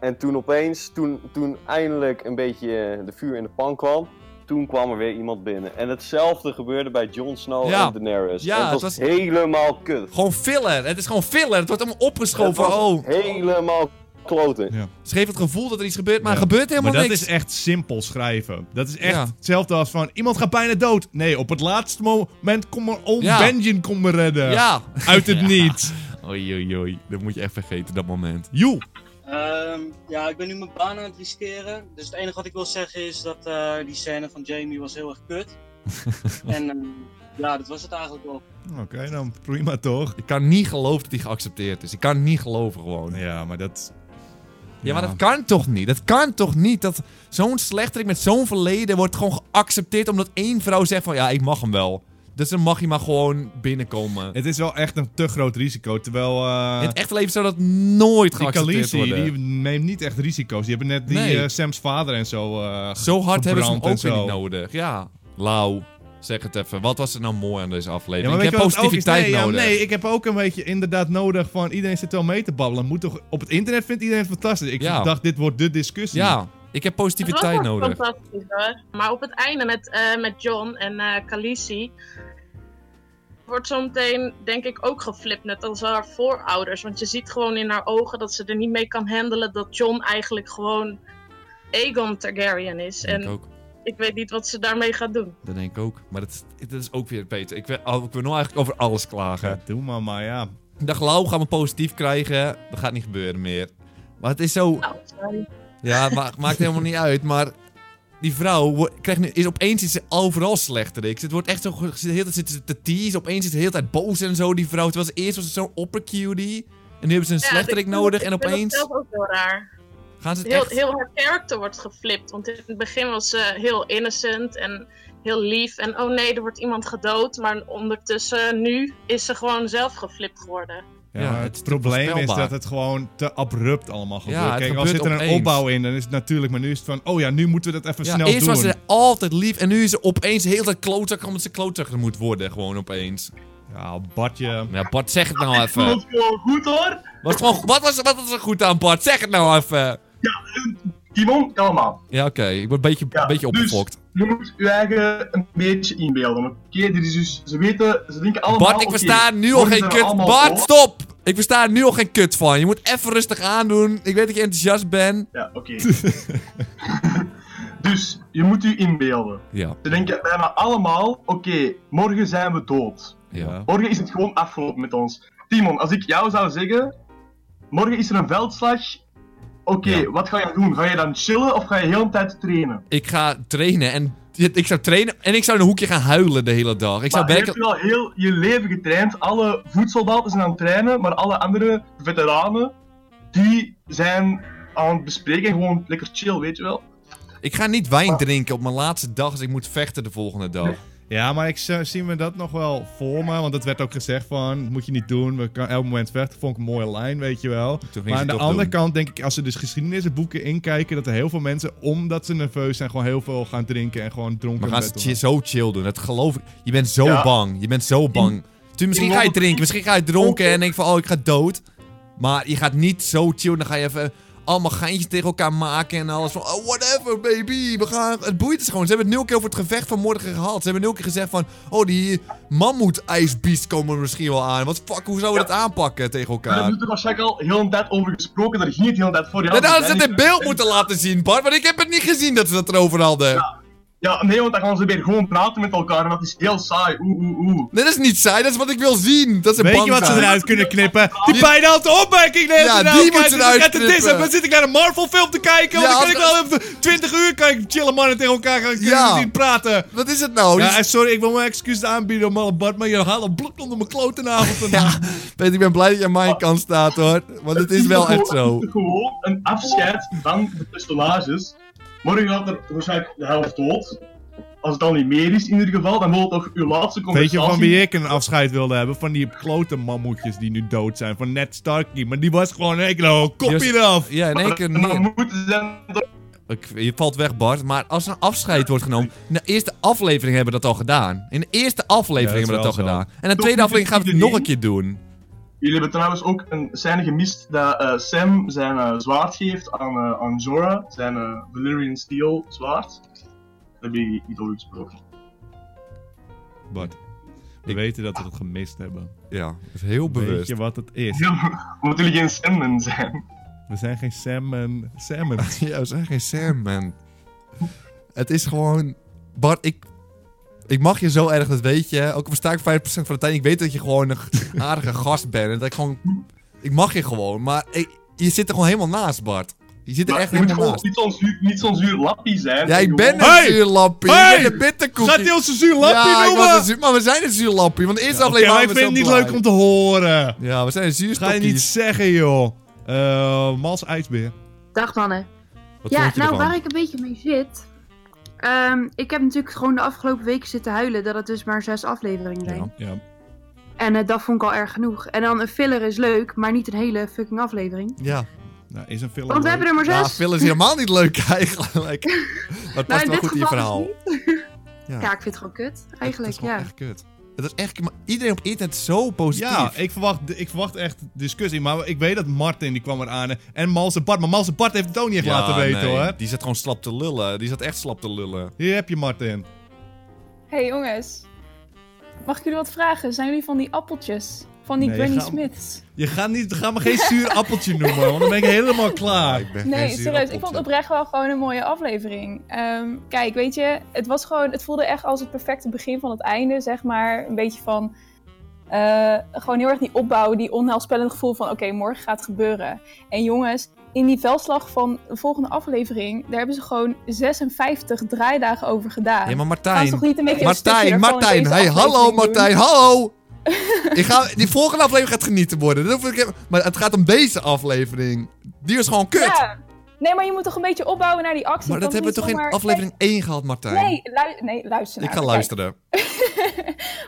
F: En toen opeens, toen, toen eindelijk een beetje eh, de vuur in de pan kwam, toen kwam er weer iemand binnen. En hetzelfde gebeurde bij Jon Snow
B: Ja.
F: en Daenerys.
B: Ja,
F: en het
B: het
F: was,
B: was-
F: helemaal kut.
B: Gewoon filler. Het is gewoon filler. Het wordt allemaal
F: Het
B: opgeschoven.
F: was
B: Oh,
F: helemaal kloten.
B: ze geeft het gevoel dat er iets gebeurt, maar er
A: Ja.
B: gebeurt helemaal
A: Maar dat
B: niks.
A: is echt simpel schrijven. Dat is echt
B: Ja.
A: hetzelfde als van... Iemand gaat bijna dood. Nee, op het laatste moment komt er... Oh,
B: Ja.
A: Benjen komt me redden.
B: Ja.
A: <laughs> Uit het
B: Ja.
A: niet.
B: eh, Oei, oei, oei. Dat moet je echt vergeten, dat moment.
A: Joe.
G: Ehm, ja, ik ben nu mijn baan aan het riskeren. Dus het enige wat ik wil zeggen is dat eh, die scène van Jamie was heel erg
A: <laughs>
G: kut. en ehm, ja, dat was het eigenlijk wel.
A: Oké, dan prima toch?
B: Ik kan niet geloven dat hij geaccepteerd is. Ik kan niet geloven gewoon. Ja,
A: Ja, maar dat...
B: maar dat kan toch niet? Dat kan toch niet? Dat zo'n slechterik met zo'n verleden wordt gewoon geaccepteerd omdat één vrouw zegt van ja, ik mag hem wel. Dus dan mag hij maar gewoon binnenkomen.
A: Het is wel echt een te groot risico. Terwijl... eh,
B: In het echte leven zou dat nooit
A: die
B: geaccepteerd
A: Khaleesi,
B: worden.
A: die neemt niet echt risico's. Die hebben net die
B: Nee.
A: eh, Sam's vader en zo... eh, ge-
B: Zo hard hebben ze hem
A: verbrand en
B: ook weer niet
A: zo.
B: nodig. Ja, Lau, zeg het even. Wat was er nou mooi aan deze
A: Ja,
B: aflevering?
A: maar
B: ik
A: weet
B: heb
A: je wat het ook is?
B: positiviteit
A: nee, ja,
B: nodig.
A: nee, ik heb ook een beetje inderdaad nodig van iedereen zit wel mee te babbelen. Moet toch, op het internet vindt iedereen het fantastisch. Ik
B: Ja.
A: dacht, dit wordt de discussie.
B: Ja, ik heb
H: Het
B: positiviteit
H: was echt
B: nodig.
H: Fantastisch hoor. Maar op het einde met, eh, met John en eh Khaleesi wordt zometeen denk ik ook geflipt, net als haar voorouders. Want je ziet gewoon in haar ogen dat ze er niet mee kan handelen dat John eigenlijk gewoon Aegon Targaryen is.
B: Dat denk ik
H: En
B: ook.
H: ik weet niet wat ze daarmee gaat doen.
B: Dat denk ik ook. Maar dat, is- dat is ook weer beter. Ik wil, oh, ik wil nou eigenlijk over alles klagen.
A: Ja, doe maar, maar ja.
B: Ik dacht, Lau, gaan we positief krijgen. Dat gaat niet gebeuren meer. Maar het is zo...
H: Nou, sorry. <laughs>
B: Ja, het ma- maakt helemaal niet uit. Maar die vrouw wo- krijgt nu, is opeens is ze overal slechterik. Het wordt echt zo... ge- ze- De hele tijd zitten ze te tease. Opeens is ze de hele tijd boos en zo, die vrouw. Terwijl ze eerst was ze zo'n opper cutie. En nu hebben ze een slechterik
H: ik vind
B: nodig.
H: dat-
B: En
H: ik vind dat
B: opeens
H: zelf ook heel raar.
B: gaan ze het
H: Heel,
B: echt...
H: heel haar karakter wordt geflipt. Want in het begin was ze heel innocent en heel lief. En oh nee, er wordt iemand gedood. Maar ondertussen, nu, is ze gewoon zelf geflipt geworden.
A: Ja,
B: Ja,
A: maar
B: het
A: het,
B: is te
A: probleem is
B: voorspelbaar.
A: dat het gewoon te abrupt allemaal gebeurt.
B: het
A: Kijk, als
B: gebeurt
A: zit er een
B: opeens.
A: opbouw in, dan is het natuurlijk. Maar nu is het van, oh ja, nu moeten we dat even
B: Ja,
A: snel
B: eerst
A: doen.
B: was ze altijd lief en nu is ze opeens de hele tijd klootzak omdat ze klootzak moet worden gewoon opeens.
A: Ja, Bartje.
B: Ja, Bart, zeg het nou even.
G: goed hoor.
B: Was het gewoon, wat, was, wat was er goed aan, Bart? Zeg het nou even.
I: Timon, kalm aan.
B: Ja, oké. Ik word een beetje,
I: Ja,
B: een beetje
I: dus-
B: opgefokt.
I: Je moet je eigen een beetje inbeelden. Oké, dit is dus, ze weten, ze denken allemaal...
B: Bart, ik
I: oké,
B: versta nu al
I: worden
B: geen
I: er
B: kut.
I: allemaal
B: Bart,
I: voor?
B: stop! Ik versta nu al geen kut van. Je moet even rustig aandoen. Ik weet dat je enthousiast bent.
I: Ja, oké. <laughs> dus, je moet je inbeelden.
B: Ja,
I: Ze denken bijna allemaal, oké, morgen zijn we dood.
B: ja.
I: Morgen is het gewoon afgelopen met ons. Timon, als ik jou zou zeggen, morgen is er een veldslag. Oké,
B: Ja.
I: wat ga je doen? Ga je dan chillen of ga je heel de hele tijd trainen?
B: Ik ga trainen en ik zou trainen en ik zou in een hoekje gaan huilen de hele dag. Ik zou
I: Maar je hebt
B: werken.
I: wel heel je leven getraind. Alle voedsoldaten zijn aan het trainen, maar alle andere veteranen, die zijn aan het bespreken. Gewoon lekker chill, weet je wel.
B: Ik ga niet wijn drinken op mijn laatste dag als ik moet vechten de volgende dag.
A: Ja, maar ik z- zie me dat nog wel voor me. Want dat werd ook gezegd van, dat moet je niet doen. We kan elk moment vechten. Vond ik een mooie lijn, weet je wel.
B: ging
A: Maar
B: ze
A: aan de
B: toch
A: andere
B: doen.
A: kant denk ik, als ze dus geschiedenisboeken inkijken... dat er heel veel mensen, omdat ze nerveus zijn... gewoon heel veel gaan drinken en gewoon dronken
B: Maar
A: in
B: gaan ze
A: bed
B: chi- zo chill doen? Dat geloof ik. Je bent zo
I: Ja.
B: bang. Je bent zo bang. Tu, misschien
I: in
B: ga je
I: Londen-
B: drinken, misschien ga je dronken en denk van, oh, ik ga dood. Maar je gaat niet zo chill. Dan ga je even allemaal geintjes tegen elkaar maken en alles van, oh, whatever, baby. We gaan... Het boeit ze gewoon. Ze hebben nul keer over het gevecht van morgen gehad. Ze hebben nul keer gezegd van, oh, die mammoet-ijsbeest komen er misschien wel aan. Wat fuck, hoe zouden we dat aanpakken tegen
I: Daar hebben
B: elkaar?
I: we er waarschijnlijk al heel een tijd over gesproken. Daar ging het heel een tijd voor. Ja,
B: En dan
I: dat
B: hadden ze
I: zijn
B: het in
I: niet-
B: beeld moeten laten zien, Bart. Want ik heb het niet gezien dat ze dat erover hadden.
I: Ja, nee, want dan gaan ze weer gewoon praten met elkaar en dat is heel saai. Oeh, oeh, oeh.
B: Dit is niet saai, dat is wat ik wil zien. Dat is een
A: Weet je
B: bang
A: wat ze
B: zijn.
A: eruit kunnen knippen? Die pijnhalte opmerking neemt
B: Ja,
A: ze
B: die
A: nou
B: moeten
A: kijken.
B: eruit
A: Ik zit te dissen,
B: knippen.
A: Dan zit ik naar een Marvel film te kijken. want
B: Ja,
A: dan kan ik
B: als-
A: wel even 20 uur kan ik chillen mannen tegen elkaar gaan
B: Ja.
A: zien praten.
B: Wat is het nou?
A: Ja,
B: Dit is-
A: en sorry, ik wil mijn excuses aanbieden om alle Bart, maar je haalt een blok onder mijn kloten avond.
B: <laughs> Ja, Peter, ik ben blij dat je aan mijn kant staat hoor. Want het is wel echt zo.
I: Het is Gewoon een afscheid van de personages. Morgen gaat er waarschijnlijk de helft dood. Als het dan niet meer is in ieder geval, dan wil het toch uw laatste
A: Weet
I: conversatie...
A: je van wie ik een afscheid wilde hebben? Van die klote mammoetjes die nu dood zijn. Van Ned Starkey. Maar die was gewoon, ik nou, kopje
B: Die
A: eraf.
B: Ja, in één keer
I: En dan
B: neer.
I: moeten ze dan door-
B: Ik- Je valt weg, Bart. Maar als er een afscheid wordt genomen. In de eerste aflevering hebben we dat al gedaan. In de eerste aflevering
A: Ja, dat
B: hebben
A: is
B: we dat al
A: wel zo.
B: gedaan. En in de tweede aflevering gaan we het nog een keer doen.
I: Jullie hebben trouwens ook een scène gemist dat eh, Sam zijn eh, zwaard geeft aan, eh, aan Jorah. Zijn eh, Valyrian Steel zwaard. Daar ben ik niet over gesproken.
A: Bart, we
B: Ik-
A: weten dat we het gemist hebben.
B: Ja, dat is heel
A: Weet
B: bewust.
A: je wat het is?
I: Ja, Omdat jullie geen Sandman zijn.
A: We zijn geen Sam en Salmon.
B: <laughs> Ja, we zijn geen Sam, man. Het is gewoon... Bart, ik... Ik mag je zo erg, dat weet je. Ook al versta ik 5% van de tijd. Ik weet dat je gewoon een <laughs> g- aardige gast bent. En dat ik gewoon... Ik mag je gewoon. Maar ik- je zit er gewoon helemaal naast, Bart. Je zit er
I: Maar
B: echt
I: je moet
B: helemaal
I: gewoon
B: naast.
I: niet zo'n zuur, niet zo'n zuur lappie zijn.
B: Ja, ik ben
I: Gewoon-
A: Hey!
B: een zuurlappie.
A: Hey!
B: Ik ben een bitterkoekje.
A: Gaat hij ons een zuur lappie
B: ja, ik
A: noemen?
B: was een zuur- maar we zijn een zuurlappie. Want de eerste
A: Oké,
B: aflevering
A: maar ik
B: waren
A: vind het
B: we
A: niet
B: zo
A: leuk om te horen.
B: blij. Ja, we zijn een
A: Ga je
B: zuurstokje.
A: niet zeggen, joh. Eh Mals IJsbeer.
J: Dag mannen.
B: Wat
J: ja,
B: vond
J: nou
B: je ervan?
J: waar ik een beetje mee zit. ehm, ik heb natuurlijk gewoon de afgelopen weken zitten huilen dat het dus maar zes afleveringen zijn.
B: Ja.
A: Ja.
J: En eh, dat vond ik al erg genoeg. En dan een filler is leuk, maar niet een hele fucking aflevering.
B: Ja.
A: Nou, is een film.
J: Want we
A: leuk?
J: hebben er maar
B: Ja,
J: zes.
B: Phil is helemaal niet leuk <laughs>
J: <laughs>
B: eigenlijk. Maar het past
J: Nou,
B: wel
J: in dit
B: goed in je
J: geval
B: verhaal.
J: dus
B: Ja.
J: Ja. ik vind het gewoon kut.
B: het
J: Eigenlijk,
B: is gewoon
J: ja.
B: echt kut. Het is echt, maar iedereen op internet is zo positief.
A: Ja, ik verwacht, ik verwacht echt discussie. Maar ik weet dat Martin die kwam eraan. En Mals en Bart. Maar Mals en Bart heeft het ook niet echt
B: Ja,
A: laten weten
B: nee,
A: hoor.
B: Die zat gewoon slap te lullen. Die zat echt slap te lullen.
A: Hier heb je Martin.
K: hey, jongens. Mag ik jullie wat vragen? Zijn jullie van die appeltjes? Van die
A: Nee,
K: Granny
A: ga-
K: Smiths?
A: Je gaat, niet, ga me geen zuur
K: <laughs>
A: appeltje noemen, want dan ben ik helemaal klaar.
B: Ik ben geen
K: Nee,
B: zure
K: serieus. Ik
B: appeltje.
K: vond het oprecht wel gewoon een mooie aflevering. Ehm, kijk, weet je, het was gewoon, het voelde echt als het perfecte begin van het einde, zeg maar. Een beetje van, eh, gewoon heel erg die opbouw, die onheilspellend gevoel van, oké, morgen gaat het gebeuren. En jongens, in die veldslag van de volgende aflevering, daar hebben ze gewoon 56 draaidagen over gedaan.
B: Ja, maar
K: Gaan ze toch
B: Martijn.
K: niet een beetje een stukje
B: Martijn,
K: ervan in
B: Martijn.
K: deze
B: Hey, hallo
K: aflevering doen?
B: Martijn,
K: <laughs>
B: hallo. ik ga, die volgende aflevering gaat genieten worden. Dat hoef ik- maar het gaat om deze aflevering. Die is gewoon kut.
K: Ja. Nee, maar je moet toch een beetje opbouwen naar die actie.
B: maar
K: Het
B: dat
K: kan
B: hebben we
K: niet
B: toch in
K: zomaar-
B: aflevering 1 gehad, Martijn?
K: Nee, lui- nee, luister
B: Ik
K: naar
B: ga
K: me.
B: luisteren.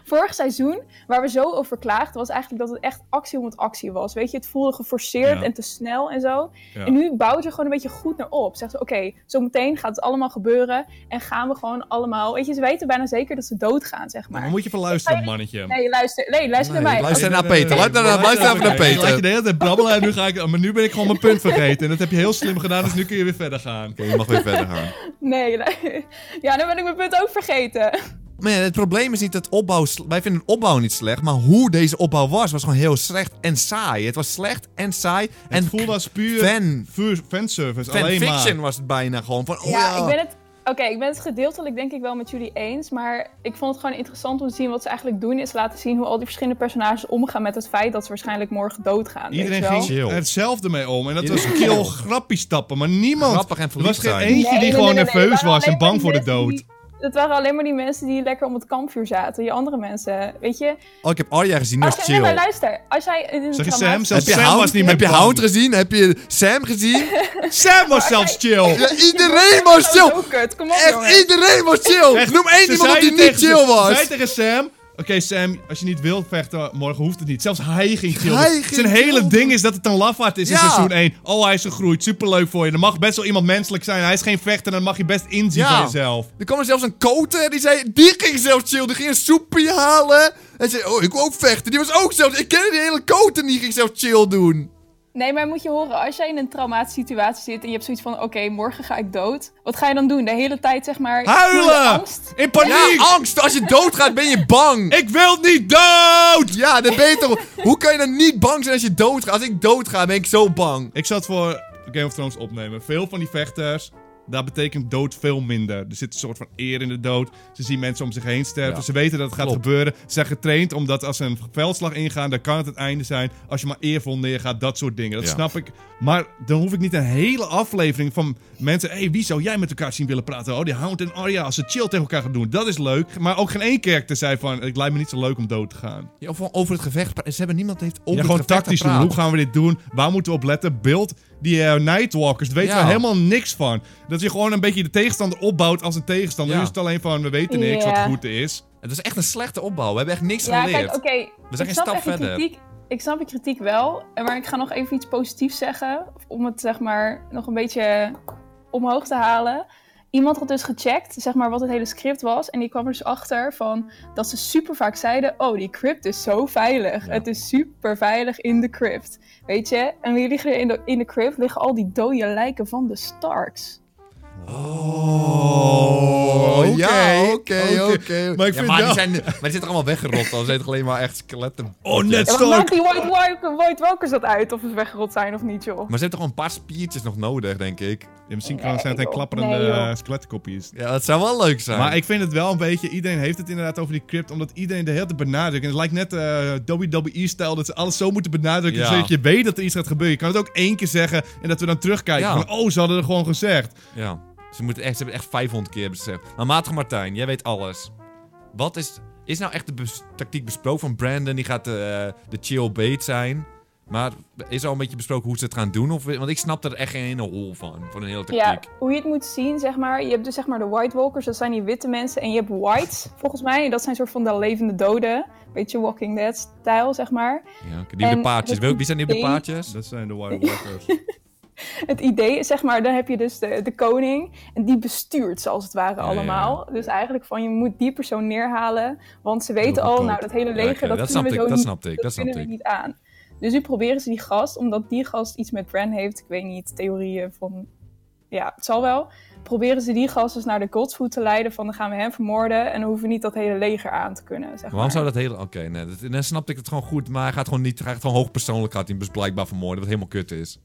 K: Vorig seizoen, waar we zo over klaagden, was eigenlijk dat het echt actie om het actie was. Weet je, het voelde geforceerd
A: Ja.
K: en te snel en zo.
A: Ja.
K: En nu bouwt ze gewoon een beetje goed naar op. Zegt ze, oké, zometeen gaat het allemaal gebeuren en gaan we gewoon allemaal... Weet je, ze weten bijna zeker dat ze doodgaan, zeg
A: Maar
K: maar.
A: moet je van luisteren, mannetje.
K: Nee, luister, nee, luister
B: Nee,
K: naar mij.
B: luister naar Peter. Luister naar- luister even naar
A: Ik laat je
B: Peter.
A: de hele tijd brabbelen en nu, ga ik, maar nu ben ik gewoon mijn punt vergeten. En dat heb je heel slim gedaan, dus nu kun je weer verder gaan.
B: Oké, je mag weer verder gaan.
K: Nee, <laughs> lu- ja, dan ben ik mijn punt ook vergeten.
B: Maar ja, het probleem is niet dat opbouw... sle- Wij vinden opbouw niet slecht, maar hoe deze opbouw was, was gewoon heel slecht en saai. Het was slecht en saai
A: Het
B: en
A: voelde als puur
B: fan,
A: vuur- fanservice. alleen
B: fanfiction
A: maar.
B: was het bijna gewoon. Van, oh ja,
K: Ja, ik ben het. Oké, ik ben het gedeeltelijk denk ik wel met jullie eens. Maar ik vond het gewoon interessant om te zien wat ze eigenlijk doen. Is laten zien hoe al die verschillende personages omgaan met het feit dat ze waarschijnlijk morgen doodgaan.
A: Iedereen
K: weet je wel?
A: ging
B: Chill.
A: er hetzelfde mee om. En dat was
B: Iedereen-
A: heel grappig stappen. Maar niemand.
B: grappig en
A: er
B: verliefd
A: was geen
B: zijn.
A: eentje
K: Nee,
A: die
K: nee,
A: gewoon
K: nee, nee, nee.
A: nerveus
K: Het waren
A: was en
K: alleen maar
A: bang voor de
K: die
A: dood.
K: mensen die- Dat waren alleen maar die mensen die lekker om het kampvuur zaten. Je andere mensen, weet je.
B: Oh, ik heb Arya gezien, dat
K: Als
B: is
K: jij, nee, maar
B: chill.
K: luister. Als jij in een
A: Zeg je
K: dramatische-
A: Sam? Zelfs
B: Heb je,
A: Sam was
B: Hound,
A: niet
B: heb je
A: meer
B: Hound
A: bang.
B: gezien? Heb je Sam gezien?
A: <laughs> Sam was zelfs chill.
B: Ja, iedereen was
K: Oh,
B: chill.
K: zo kut. Kom op, jongens.
B: Echt, iedereen was chill.
A: Echt,
B: Noem één
A: ze
B: iemand op die
A: zeiden
B: niet
A: tegen-
B: chill
A: ze
B: was.
A: zei tegen Sam... Oké, Sam, als je niet wilt vechten morgen, hoeft het niet. Zelfs hij ging chillen.
B: Hij ging
A: Zijn hele
B: chillen.
A: ding is dat het een lafaard is in
B: Ja.
A: seizoen 1. Oh, hij is gegroeid. Superleuk voor je. Dan mag best wel iemand menselijk zijn. Hij is geen vechter. Dan mag je best inzien
B: Ja.
A: van jezelf.
B: Er kwam er zelfs een koter, die zei, die ging zelfs chill, die ging een soepje halen. En zei, oh, ik wil ook vechten. Die was ook zelfs, ik ken die hele koter, die ging zelfs chill doen.
K: Nee, maar moet je horen, als jij in een traumatische situatie zit en je hebt zoiets van, oké, morgen ga ik dood. Wat ga je dan doen? De hele tijd, zeg maar...
A: Huilen!
K: Angst.
A: In paniek!
B: Ja, angst. Als je doodgaat ben je bang.
A: Ik wil niet dood!
B: Ja, dan ben je toch... Hoe kan je dan niet bang zijn als je doodgaat? Als ik doodga ben ik zo bang.
A: Ik zat voor Game of Thrones opnemen. Veel van die vechters Daar betekent dood veel minder. Er zit een soort van eer in de dood. Ze zien mensen om zich heen sterven.
B: Ja.
A: Ze weten dat het gaat
B: Klopt.
A: gebeuren. Ze zijn getraind omdat als ze een veldslag ingaan, dan kan het het einde zijn. Als je maar eervol neergaat, dat soort dingen. Dat
B: Ja.
A: snap ik. Maar dan hoef ik niet een hele aflevering van mensen. Hé, hey, wie zou jij met elkaar zien willen praten? Oh, die Hound en Arya. Als ze chill tegen elkaar gaan doen, dat is leuk. Maar ook geen één karakter zei van: Het lijkt me niet zo leuk om dood te gaan.
B: Ja, of gewoon over het gevecht. pra- Ze hebben niemand heeft over
A: Ja,
B: het
A: gewoon
B: gevecht
A: tactisch doen.
B: gepraat.
A: Hoe gaan we dit doen? Waar moeten we op letten? Beeld die eh, Nightwalkers. Daar weten
B: Ja.
A: we helemaal niks van. Dat je gewoon een beetje de tegenstander opbouwt als een tegenstander.
B: Ja.
A: Nu is het alleen van, we weten niks
K: Ja.
A: wat goed is.
B: Het is echt een slechte opbouw. We hebben echt niks
K: Ja,
B: geleerd.
K: kijk, oké.
B: We
K: ik
B: zijn geen
K: snap
B: stap
K: echt je
B: verder.
K: Kritiek, ik snap je kritiek wel, eh, maar ik ga nog even iets positiefs zeggen. Om het zeg maar nog een beetje omhoog te halen. Iemand had dus gecheckt, zeg maar, wat het hele script was. En die kwam er dus achter van dat ze super vaak zeiden: Oh, die crypt is zo veilig. Het is super veilig in de crypt. Weet je? En hier liggen er in de, in de crypt liggen al die dode lijken van de Starks.
B: Oh, ja, oké, oké.
A: Maar ik
B: Ja,
A: vind
B: maar, die
A: wel-
B: zijn, maar die zitten allemaal weggerot. Dan zijn het alleen maar echt skeletten.
A: Oh, net
K: Ja, maar maakt die White, Walker- White Walkers dat uit of ze weggerot zijn of niet, joh?
B: Maar ze hebben toch wel een paar spiertjes nog nodig, denk ik.
A: misschien kan- zijn het een klapperende
K: Nee, joh.
A: eh, skelettenkopjes.
B: Ja, dat zou wel leuk zijn.
A: Maar ik vind het wel een beetje... Iedereen heeft het inderdaad over die crypt. Omdat iedereen de hele tijd benadrukt. En het lijkt net eh WWE-stijl. Dat ze alles zo moeten benadrukken.
B: Ja.
A: Zodat je weet dat er iets gaat gebeuren. Je kan het ook één keer zeggen. En dat we dan terugkijken.
B: Ja.
A: Van, oh, ze hadden er gewoon gezegd.
B: Ja, ze, moeten echt, ze hebben het echt 500 keer gezegd. Maar matige Martijn, jij weet alles. Wat is, is nou echt de bes- tactiek besproken van Brandon? Die gaat de, eh, de chill bait zijn. Maar is er al een beetje besproken hoe ze het gaan doen? Of, want ik snap er echt geen ene hol van, van een hele
K: Ja,
B: tactiek.
K: hoe je het moet zien, zeg maar. Je hebt dus zeg maar de White Walkers, dat zijn die witte mensen. En je hebt Whites, volgens mij. En dat zijn soort van de levende doden. Beetje Walking Dead-stijl, zeg maar.
B: Ja, oké, die op de
K: En
B: paardjes.
K: het
B: Wie wie zijn die op de
K: idee-
B: paardjes?
A: Dat zijn de White Walkers.
K: Het idee is, zeg maar, dan heb je dus de, de koning. En die bestuurt ze, als het ware,
B: ja,
K: allemaal. Dus eigenlijk van, je moet die persoon neerhalen. Want ze weten al,
B: goedkoop.
K: nou, dat hele
B: Ja,
K: leger,
B: oké,
K: dat,
B: dat
K: kunnen
B: snapte ik,
K: we zo
B: dat
K: niet,
B: snapte ik, dat
K: kunnen
B: snapte
K: we niet aan. Dus nu proberen ze die gast, omdat die gast iets met Bran heeft. Ik weet niet, theorieën van ja, het zal wel. Proberen ze die gast dus naar de Godsfoot te leiden van dan gaan we hem vermoorden en dan hoeven we niet dat hele leger aan te kunnen. Zeg
B: Waarom
K: maar.
B: zou dat hele... Oké, nee, dat- dan snapte ik het gewoon goed. Maar hij gaat gewoon niet... Hij gaat gewoon hoogpersoonlijk gaat hij hem dus blijkbaar vermoorden. Wat helemaal kut is.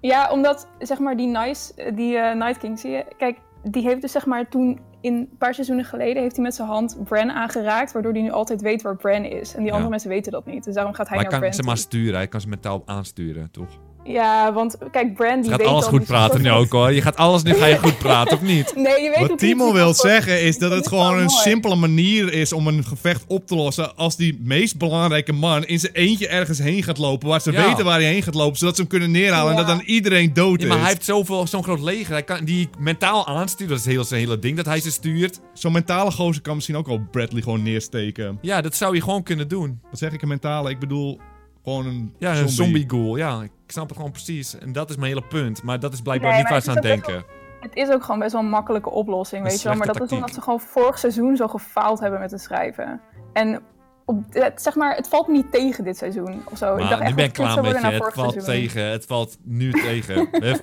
K: Ja, omdat zeg maar die, nice, die eh, Night King, zie je, kijk, die heeft dus zeg maar toen in een paar seizoenen geleden heeft hij met zijn hand Bran aangeraakt, waardoor hij nu altijd weet waar Bran is. En die
B: Ja.
K: andere mensen weten dat niet, dus daarom gaat hij
B: maar
K: naar
B: hij kan ze
K: Bran.
B: maar sturen. Hij kan ze mentaal aansturen, toch?
K: toe. Ja, want kijk, Bran die
B: Je gaat
K: weet
B: alles
K: dan
B: goed
K: dus
B: praten nu
K: soort
B: ook hoor. Je gaat alles nu ga je goed praten, of niet?
K: <laughs> van- <laughs> Nee, je weet
A: Wat
K: het niet.
A: Timo
K: Je
A: wil
K: gaat gewoon-
A: zeggen is dat het gewoon een
K: mooi.
A: simpele manier is om een gevecht op te lossen. Als die meest belangrijke man in zijn eentje ergens heen gaat lopen. Waar ze
B: Ja.
A: weten waar hij heen gaat lopen. Zodat ze hem kunnen neerhalen. En
K: Ja.
A: dat dan iedereen dood
B: Ja,
A: is.
B: maar hij heeft zoveel- zo'n groot leger. Hij kan die mentaal aansturen. Dat is heel, zijn hele ding dat hij ze stuurt.
A: Zo'n mentale gozer kan misschien ook al Bradley gewoon neersteken.
B: Ja, dat zou je gewoon kunnen doen.
A: Wat zeg ik een mentale? Ik bedoel gewoon een
B: Ja,
A: zombie.
B: een zombie ghoul. Ja, ik snap het gewoon precies. En dat is mijn hele punt. Maar dat is blijkbaar
K: Nee,
B: niet waar
K: maar
B: ze aan
K: het is ook
B: denken.
K: Het is ook gewoon best wel een makkelijke oplossing,
B: Een
K: weet je wel. Maar dat
B: slechte
K: is omdat
B: tactiek.
K: ze gewoon vorig seizoen zo gefaald hebben met het schrijven. En op, het, zeg maar, het valt me niet tegen dit seizoen of zo. Oh,
B: Maar
K: ik dacht
B: nu ben
K: echt dat
B: ik
K: het
B: klaar
K: zou
B: met
K: worden
B: je.
K: na
B: Het
K: vorig
B: valt
K: seizoen.
B: tegen. Het valt nu
K: <laughs>
B: tegen. We hebben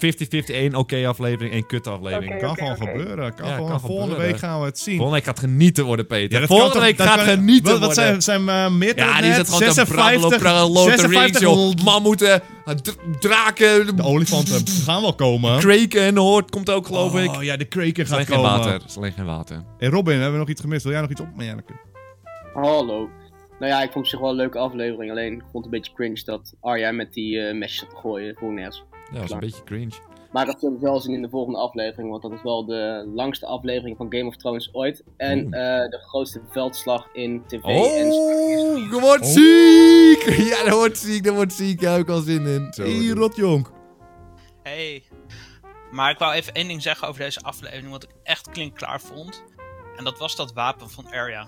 B: 50-50, één oké aflevering, één kut aflevering.
K: Oké,
A: Kan
K: oké,
A: gewoon
K: oké.
A: gebeuren. Kan
B: Ja,
A: gewoon.
B: kan
A: Volgende
B: gebeuren.
A: week gaan we het zien.
B: Volgende week gaat genieten worden, Peter.
A: Ja, dat
B: Volgende
A: kan toch-
B: week
A: dat
B: gaat
A: kan-
B: genieten
A: wat,
B: worden.
A: Wat zijn, zijn eh, meer
B: Ja,
A: tot
B: die
A: net?
B: zit gewoon
A: 56,
B: te brabbelen op de
A: 56
B: range, Man moeten draken,
A: De olifanten gaan wel komen.
B: kraken en hoort, komt ook geloof ik.
A: Oh ja, de kraken
B: is alleen
A: gaat
B: geen
A: komen.
B: water. is alleen geen water.
A: Hey Robin, hebben we nog iets gemist? Wil jij nog iets opmerken?
L: Hallo. Nou ja, ik vond het zich wel een leuke aflevering. Alleen ik vond het een beetje cringe dat Arya met die eh mesjes zat te gooien. Voor nergens.
B: Ja, dat is een beetje cringe.
L: Maar dat zullen we wel zien in de volgende aflevering. Want dat is wel de langste aflevering van Game of Thrones ooit. En
B: Mm.
L: eh, de grootste veldslag in tv. en...
B: Oh, je wordt ziek! <laughs> Ja, dat wordt ziek, dat wordt ziek. Daar heb ik al zin in. Zo,
A: Hey, rotjonk.
M: Hey. Maar ik wou even één ding zeggen over deze aflevering, wat ik echt klinkklaar vond. En dat was dat wapen van Arya.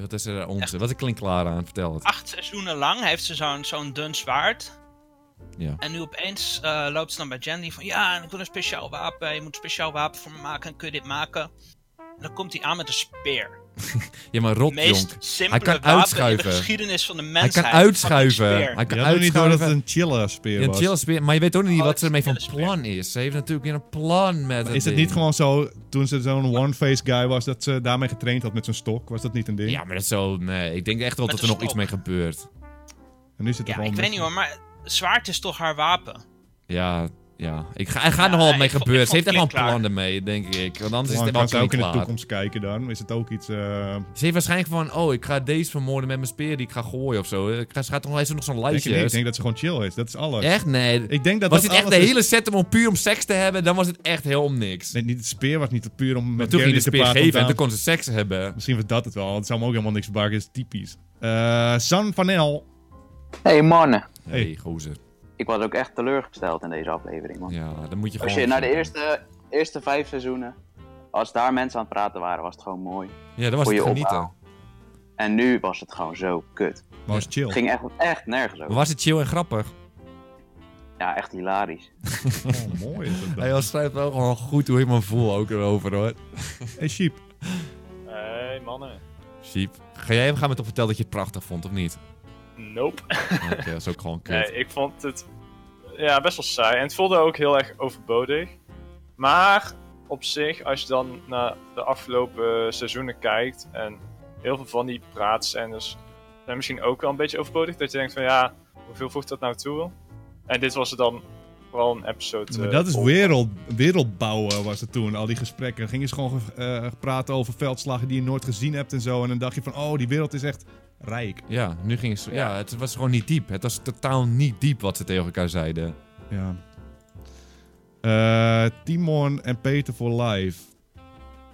B: Wat is er daar onze? Wat klinkt klaar aan? Vertel het.
M: Acht seizoenen lang heeft ze zo'n zo'n dun zwaard.
B: Ja.
M: En nu opeens eh, loopt ze dan bij Jandy van... Ja, en ik wil een speciaal wapen. Je moet een speciaal wapen voor me maken. Kun je dit maken? En dan komt hij aan met een speer.
B: Ja, maar
M: Het meest
B: rotjonk.
M: simpele
B: Hij kan
M: wapen in de
B: uitschuiven.
M: geschiedenis van de
B: Hij kan
M: mensheid.
B: uitschuiven.
M: Fucking speer.
B: Hij kan
A: Je had nog niet door
B: uitschuiven.
A: dat het een chiller speer
B: Ja, een
A: was.
B: chille speer. Maar je weet ook
M: Oh,
B: nog niet wat ze ermee van plan is. Ze heeft natuurlijk weer een plan met
A: Is het
B: ding.
A: niet gewoon zo, toen ze zo'n one-face guy was, dat ze daarmee getraind had met zo'n stok? Was dat niet een ding?
B: Ja, maar dat is zo... Nee, ik denk echt wel
M: Met
B: dat
M: een
B: er nog
M: stok.
B: iets mee gebeurt.
A: En nu zit er
M: Ja,
A: gewoon
M: ik weet niet hoor, maar zwaard is toch haar wapen?
B: Ja, Ja, ik ga, er gaat
M: Ja,
B: nogal wat mee
M: ik vond- ik
B: gebeuren. Ze
M: vond
B: heeft
M: het
B: echt wel
M: kliklaar.
B: plannen mee, denk ik. Want anders is
A: Dan
B: het
A: gaan
B: ook
A: ze ook
B: niet Ah,
A: in de
B: klaar.
A: toekomst kijken dan. Is het ook iets... eh,
B: Ze heeft waarschijnlijk van, oh, ik ga deze vermoorden met mijn speer die ik ga gooien of zo. Ik ga, ze gaat toch heeft ze nog zo'n
A: denk
B: lijstje.
A: ik, niet. ik denk dat ze gewoon chill is. Dat is alles.
B: Echt? Nee.
A: Ik denk dat
B: was
A: dat
B: het echt de
A: alles is.
B: hele set om- om puur om seks te hebben? Dan was het echt heel om niks.
A: Nee, niet het speer was niet het puur om met
B: toen ging
A: Gary
B: je
A: te
B: de speer
A: praten.
B: geven en
A: want
B: toen kon ze seks hebben.
A: Misschien was dat het wel. want Het zou me ook helemaal niks verbazen. is typisch. Eh, San Vanel.
N: Hey mannen.
B: Hey, gozer.
N: Ik was ook echt teleurgesteld in deze aflevering, man.
B: Ja, dan moet je
N: Als
B: gewoon...
N: je naar de eerste, eerste vijf seizoenen, als daar mensen aan het praten waren, was het gewoon mooi.
B: Ja, dan was
N: Voor
B: het
N: je
B: genieten.
N: opbouw. En nu was het gewoon zo kut.
A: Was chill.
N: Het ging echt, echt nergens
B: Maar
N: over.
B: was het chill en grappig?
N: Ja, echt
M: <laughs>
N: hilarisch.
A: Oh, mooi is dat dan.
B: Hij al schrijft wel gewoon goed hoe ik me voel ook erover, hoor.
A: Hey, Sheep.
O: Hey mannen.
B: Sheep. Ga jij hem gaan me toch vertellen dat je het prachtig vond, of
N: <laughs>
B: niet?
O: Nope.
B: Oké, dat is ook gewoon kut.
O: Nee, ik vond het ja, best wel saai. En het voelde ook heel erg overbodig. Maar op zich, als je dan naar de afgelopen seizoenen kijkt. En heel veel van die praatscènes zijn misschien ook wel een beetje overbodig. Dat je denkt van ja, hoeveel voegt dat nou toe? En dit was er dan vooral een episode.
A: Maar
O: eh,
A: dat is
O: vol.
A: wereld, wereldbouwen was het toen, al die gesprekken. Dan gingen ze gewoon eh, praten over veldslagen die je nooit gezien hebt en zo. En dan dacht je van, oh, die wereld is echt rijk.
B: Ja, nu ging het... Ja, het was gewoon niet diep. Het was totaal niet diep wat ze tegen elkaar
N: <laughs>
B: zeiden.
A: Ja. Eh, Timon en Peter voor live.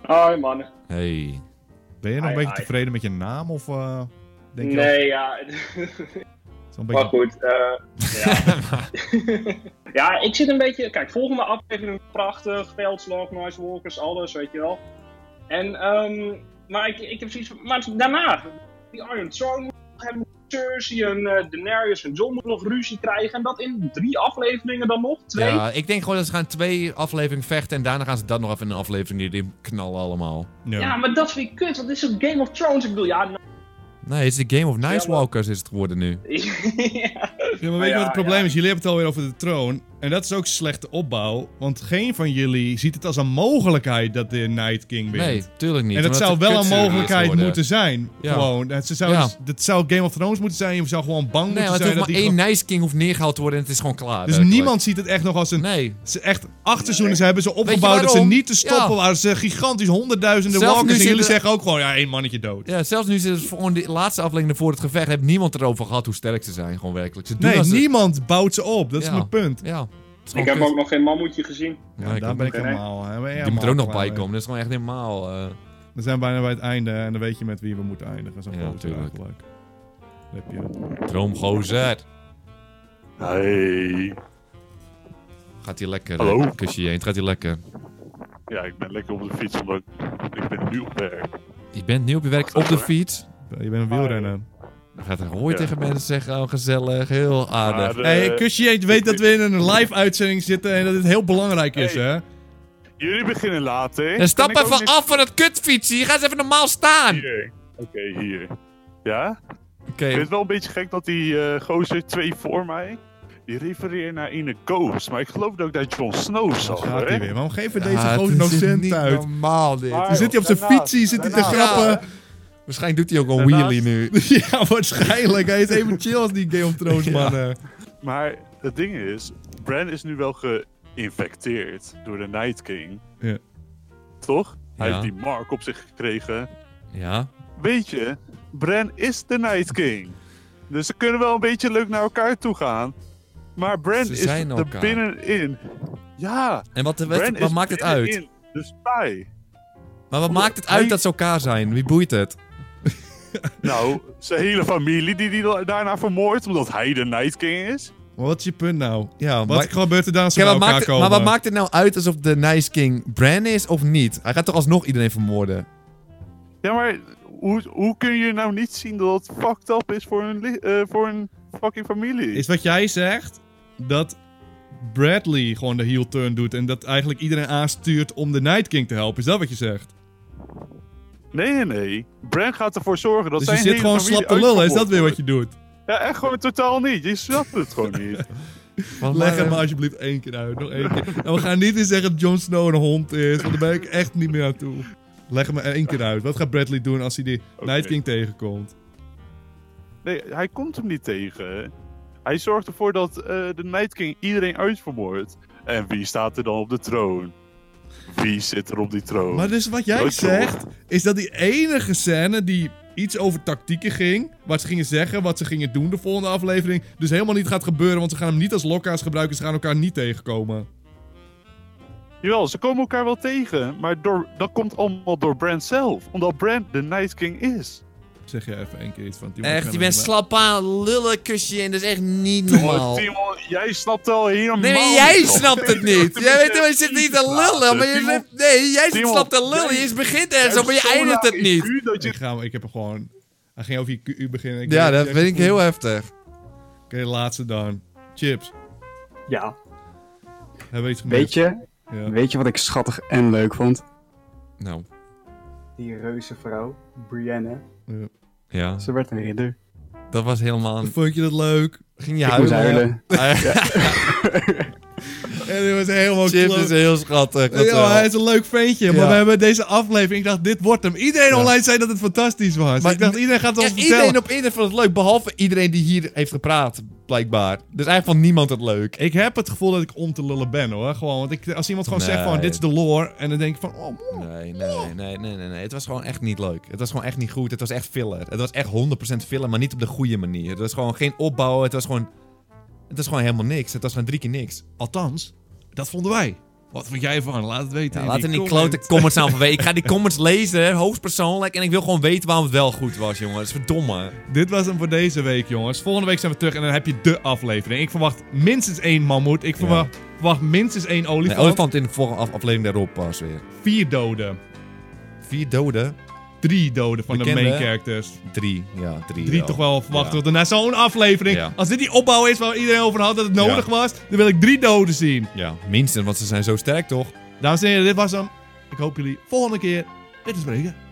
P: Hoi mannen.
B: Hey.
A: Ben je nog
P: Hi,
A: een beetje
P: hi.
A: tevreden met je naam? Of eh, denk je
P: nee, ja. <laughs>
A: Zo'n beetje-
P: maar goed. eh, ja. ja, ik zit een beetje... Kijk, volgende aflevering prachtig. Veldslag, Nice Walkers, alles, weet je wel. En, ehm, maar ik, ik heb zoiets van... Maar daarna, die Iron Throne moet nog hebben... Cersei en eh, Daenerys en Jon moeten nog ruzie krijgen. En dat in drie afleveringen dan nog? Twee?
B: Ja, ik denk gewoon dat ze gaan twee afleveringen vechten en daarna gaan ze dat nog even in een aflevering die knallen allemaal.
P: ja. maar dat vind ik kut. Want dit is een Game of Thrones. Ik bedoel, ja... nou-
B: Nee, het is de Game of Nice Walkers is het geworden nu.
A: Nou Ja, maar weet je wat het probleem is? Jullie hebben het alweer over de troon. En dat is ook slechte opbouw. Want geen van jullie ziet het als een mogelijkheid dat de Night King wint.
B: Nee, tuurlijk niet,
A: En dat
B: omdat
A: zou
B: het
A: wel een
B: kutserie is
A: mogelijkheid
B: geworden.
A: moeten zijn.
B: Ja.
A: Gewoon. Dat, ze zou,
B: Ja.
A: dat zou Game of Thrones moeten zijn. Je zou gewoon bang
B: Nee,
A: moeten
B: want het
A: zijn.
B: hoeft
A: Dat
B: maar
A: die
B: één
A: gewoon-
B: Nice King hoeft neergehaald te worden en het is gewoon klaar.
A: Dus
B: werkelijk.
A: niemand ziet het echt nog als een...
B: Nee.
A: Ze echt acht seizoenen ze hebben ze opgebouwd dat ze
B: waarom?
A: niet te stoppen
B: Ja.
A: waren. Ze gigantisch honderdduizenden
B: Zelfs nu
A: walkers. En jullie
B: zitten-
A: zeggen ook gewoon, ja, één mannetje dood.
B: Ja, zelfs nu ze gewoon de laatste aflevering voor het gevecht heeft niemand erover gehad hoe sterk ze zijn, gewoon werkelijk. Ze doen
A: Nee,
B: als ze-
A: niemand bouwt ze op. Dat is
B: Ja.
A: mijn punt. Nou,
B: Ja.
P: Ik heb ook nog geen mammoetje gezien.
B: Ja, ik
A: daar
B: ook
A: ben ik
B: niet.
A: helemaal... hè, ben
B: Die moet
A: helemaal
B: er ook nog
A: klaar
B: bij
A: mee.
B: komen, dat is gewoon echt helemaal... eh,
A: We zijn bijna bij het einde en dan weet je met wie we moeten eindigen. Zo'n
B: Ja,
A: ja,
B: tuurlijk.
A: eigenlijk. Dat heb je.
B: Droomgozer. Hey. Gaat hij lekker?
Q: Hallo?
B: eh, Kusje je heen, gaat hij lekker.
Q: Ja, ik ben lekker op de fiets, omdat ik ben nu op werk.
B: Je bent nu op je werk op de fiets.
A: Je bent een wielrenner.
B: Dan gaat er hooi
Q: Ja.
B: tegen mensen zeggen, oh gezellig, heel aardig.
Q: Maar, eh,
A: Hey, Kusje, je weet dat we in een live uitzending zitten en dat dit heel belangrijk is, hè?
Q: Jullie beginnen laat, hè?
B: En stap
Q: Kan ik ook
B: even
Q: niet-
B: af van het kutfietsen, je gaat eens even normaal staan.
Q: Hier. Oké, hier. Ja?
B: Oké.
Q: Ik vind het wel een beetje gek dat die eh, gozer twee voor mij... Die refereert naar In the Ghost, maar ik geloof ook dat Jon Snow zat, hè?
A: Gaat hij weer? Waarom geven
B: Ja,
A: deze
B: het
A: gozer
B: is
A: nog cent
B: niet
A: uit?
B: normaal, dit.
A: Dan zit hij op zijn
B: Daarnaast,
A: fiets, zit hij te
B: daarnaast.
A: grappen.
B: Waarschijnlijk doet hij ook een
Q: Daarnaast-
B: wheelie nu.
A: <laughs> Ja, waarschijnlijk. Hij is even chill als die Game of Thrones, man. hè.
Q: Maar het ding is, Bran is nu wel geïnfecteerd door de Night King.
A: Ja.
Q: Toch? Hij
B: Ja.
Q: heeft die mark op zich gekregen.
B: Ja.
Q: Weet je, Bran is de Night King. Dus ze kunnen wel een beetje leuk naar elkaar toe gaan. Maar Bran
B: Ze
Q: is
B: zijn
Q: er
B: elkaar.
Q: binnenin. Ja. dus
B: En wat- wat-
Q: Bran
B: wat
Q: is
B: maakt het uit?
Q: binnenin De spy.
B: Maar wat maakt het uit dat ze elkaar zijn? Wie boeit het?
Q: Nou, zijn hele familie die die daarna vermoordt omdat hij de Night King is.
A: Maar wat is je punt nou?
B: Ja,
A: Wat gebeurt er dan als ze bij
B: Kijk,
A: elkaar
B: wat maakt het-
A: komen?
B: Maar wat maakt het nou uit alsof de Nice King Bran is of niet? Hij gaat toch alsnog iedereen vermoorden?
Q: Ja, maar hoe, hoe kun je nou niet zien dat het fucked up is voor een, li- eh, voor een fucking familie?
A: Is wat jij zegt dat Bradley gewoon de heel turn doet en dat eigenlijk iedereen aanstuurt om de Night King te helpen? Is dat wat je zegt?
Q: Nee, nee, nee. Bran gaat ervoor zorgen dat
A: Dus je
Q: zijn
A: zit
Q: hele
A: gewoon
Q: familie
A: slap te lullen, is dat
Q: uitverkocht
A: weer wat je doet?
Q: wordt. Ja, echt gewoon totaal niet. Je snapt het gewoon niet.
B: eh,
A: Leg hem maar alsjeblieft één keer uit. Nog één keer. En we gaan niet eens zeggen dat Jon Snow een hond is, want daar ben ik echt niet meer aan toe. Leg hem maar één keer uit. Wat gaat Bradley doen als hij die Night King tegenkomt?
Q: Nee, hij komt hem niet tegen. Hij zorgt ervoor dat eh, de Night King iedereen uitvermoordt. En wie staat er dan op de troon? Wie zit er op die troon?
A: Maar dus wat jij
Q: Nooit gehoord.
A: zegt, is dat die enige scène die iets over tactieken ging, wat ze gingen zeggen, wat ze gingen doen de volgende aflevering, dus helemaal niet gaat gebeuren, want ze gaan hem niet als lokka's gebruiken, ze gaan elkaar niet tegenkomen.
Q: Jawel, ze komen elkaar wel tegen, maar door, dat komt allemaal door Brand zelf. Omdat Brand de Night King is.
A: Zeg jij even één keer iets van Timon?
B: Echt, je bent slap aan, lullen, kusje en dat is echt niet normaal.
Q: Timon, jij snapt al helemaal
B: Nee, maar jij
Q: niet.
B: snapt het niet. Jij weet wel, je zit niet te lullen, maar je
Q: Timon,
B: zit- Nee, jij zit
Q: Timon,
B: slap te lullen.
Q: jij-
B: Je begint ergens op, maar je eindigt het niet.
A: Ik, ga, ik heb hem gewoon... Hij ging over je QU beginnen. Ik
B: Ja,
A: weet
B: dat
A: niet
B: vind
A: echt
B: ik heel
A: hoe-
B: heftig.
A: Oké, de laatste dan. Chips.
R: <laughs> Ja.
A: Hebben we iets gemist?
R: Weet je,
A: Ja.
R: weet je wat ik schattig en leuk vond?
B: Nou.
R: Die reuze vrouw, Brienne.
B: Ja.
R: Ze werd een ridder.
B: Dat was helemaal...
A: Vond je dat leuk?
B: Ging je
R: Ik moest
B: huilen?
R: huilen.
A: En dit was helemaal
B: Chips
A: kloot.
B: is heel schattig, dat
A: Ja,
B: wel.
A: hij is een leuk ventje. Maar
B: Ja.
A: we hebben deze aflevering. Ik dacht, dit wordt hem. Iedereen
B: Ja.
A: online zei dat het fantastisch was. Maar ik dacht, iedereen gaat het
B: Ja,
A: ons
B: Iedereen
A: vertellen.
B: op internet vond het leuk, behalve iedereen die hier heeft gepraat, blijkbaar. Dus eigenlijk vond niemand het leuk.
A: Ik heb het gevoel dat ik om te lullen ben hoor. Gewoon, want ik, als iemand gewoon zegt van,
B: Nee.
A: dit is de lore. En dan denk ik van, oh,
B: Nee, nee, nee, nee, nee, nee. Het was gewoon echt niet leuk. Het was gewoon echt niet goed. Het was echt filler. Het was echt 100% filler, maar niet op de goede manier. Het was gewoon geen opbouw. Het was gewoon... Het was gewoon helemaal niks. Het was gewoon drie keer niks.
A: Althans, dat vonden wij. Wat vond jij ervan? Laat het weten.
B: Ja, laat er niet
A: comment.
B: klote comments <laughs> aan van weten. Ik ga die comments lezen, hoogstpersoonlijk. En ik wil gewoon weten waarom het wel goed was, jongen. Dat is verdomme.
A: Dit was hem voor deze week, jongens. Volgende week zijn we terug en dan heb je de aflevering. Ik verwacht minstens één mammoet. Ik verwacht, verwacht minstens één
B: Nee,
A: olifant.
B: olifant in de volgende af- aflevering daarop pas weer.
A: Vier doden.
B: Vier doden?
A: Drie doden van de
B: Bekende?
A: main characters.
B: Drie, ja, drie
A: Drie
B: wel.
A: toch wel verwacht
B: Ja.
A: worden. Na zo'n aflevering,
B: Ja.
A: als dit die opbouw is waar iedereen over had dat het nodig
B: Ja.
A: was, dan wil ik drie doden zien.
B: Ja, minstens, want ze zijn zo sterk, toch?
A: Dames en heren, dit was hem. Ik hoop jullie volgende keer weer te spreken.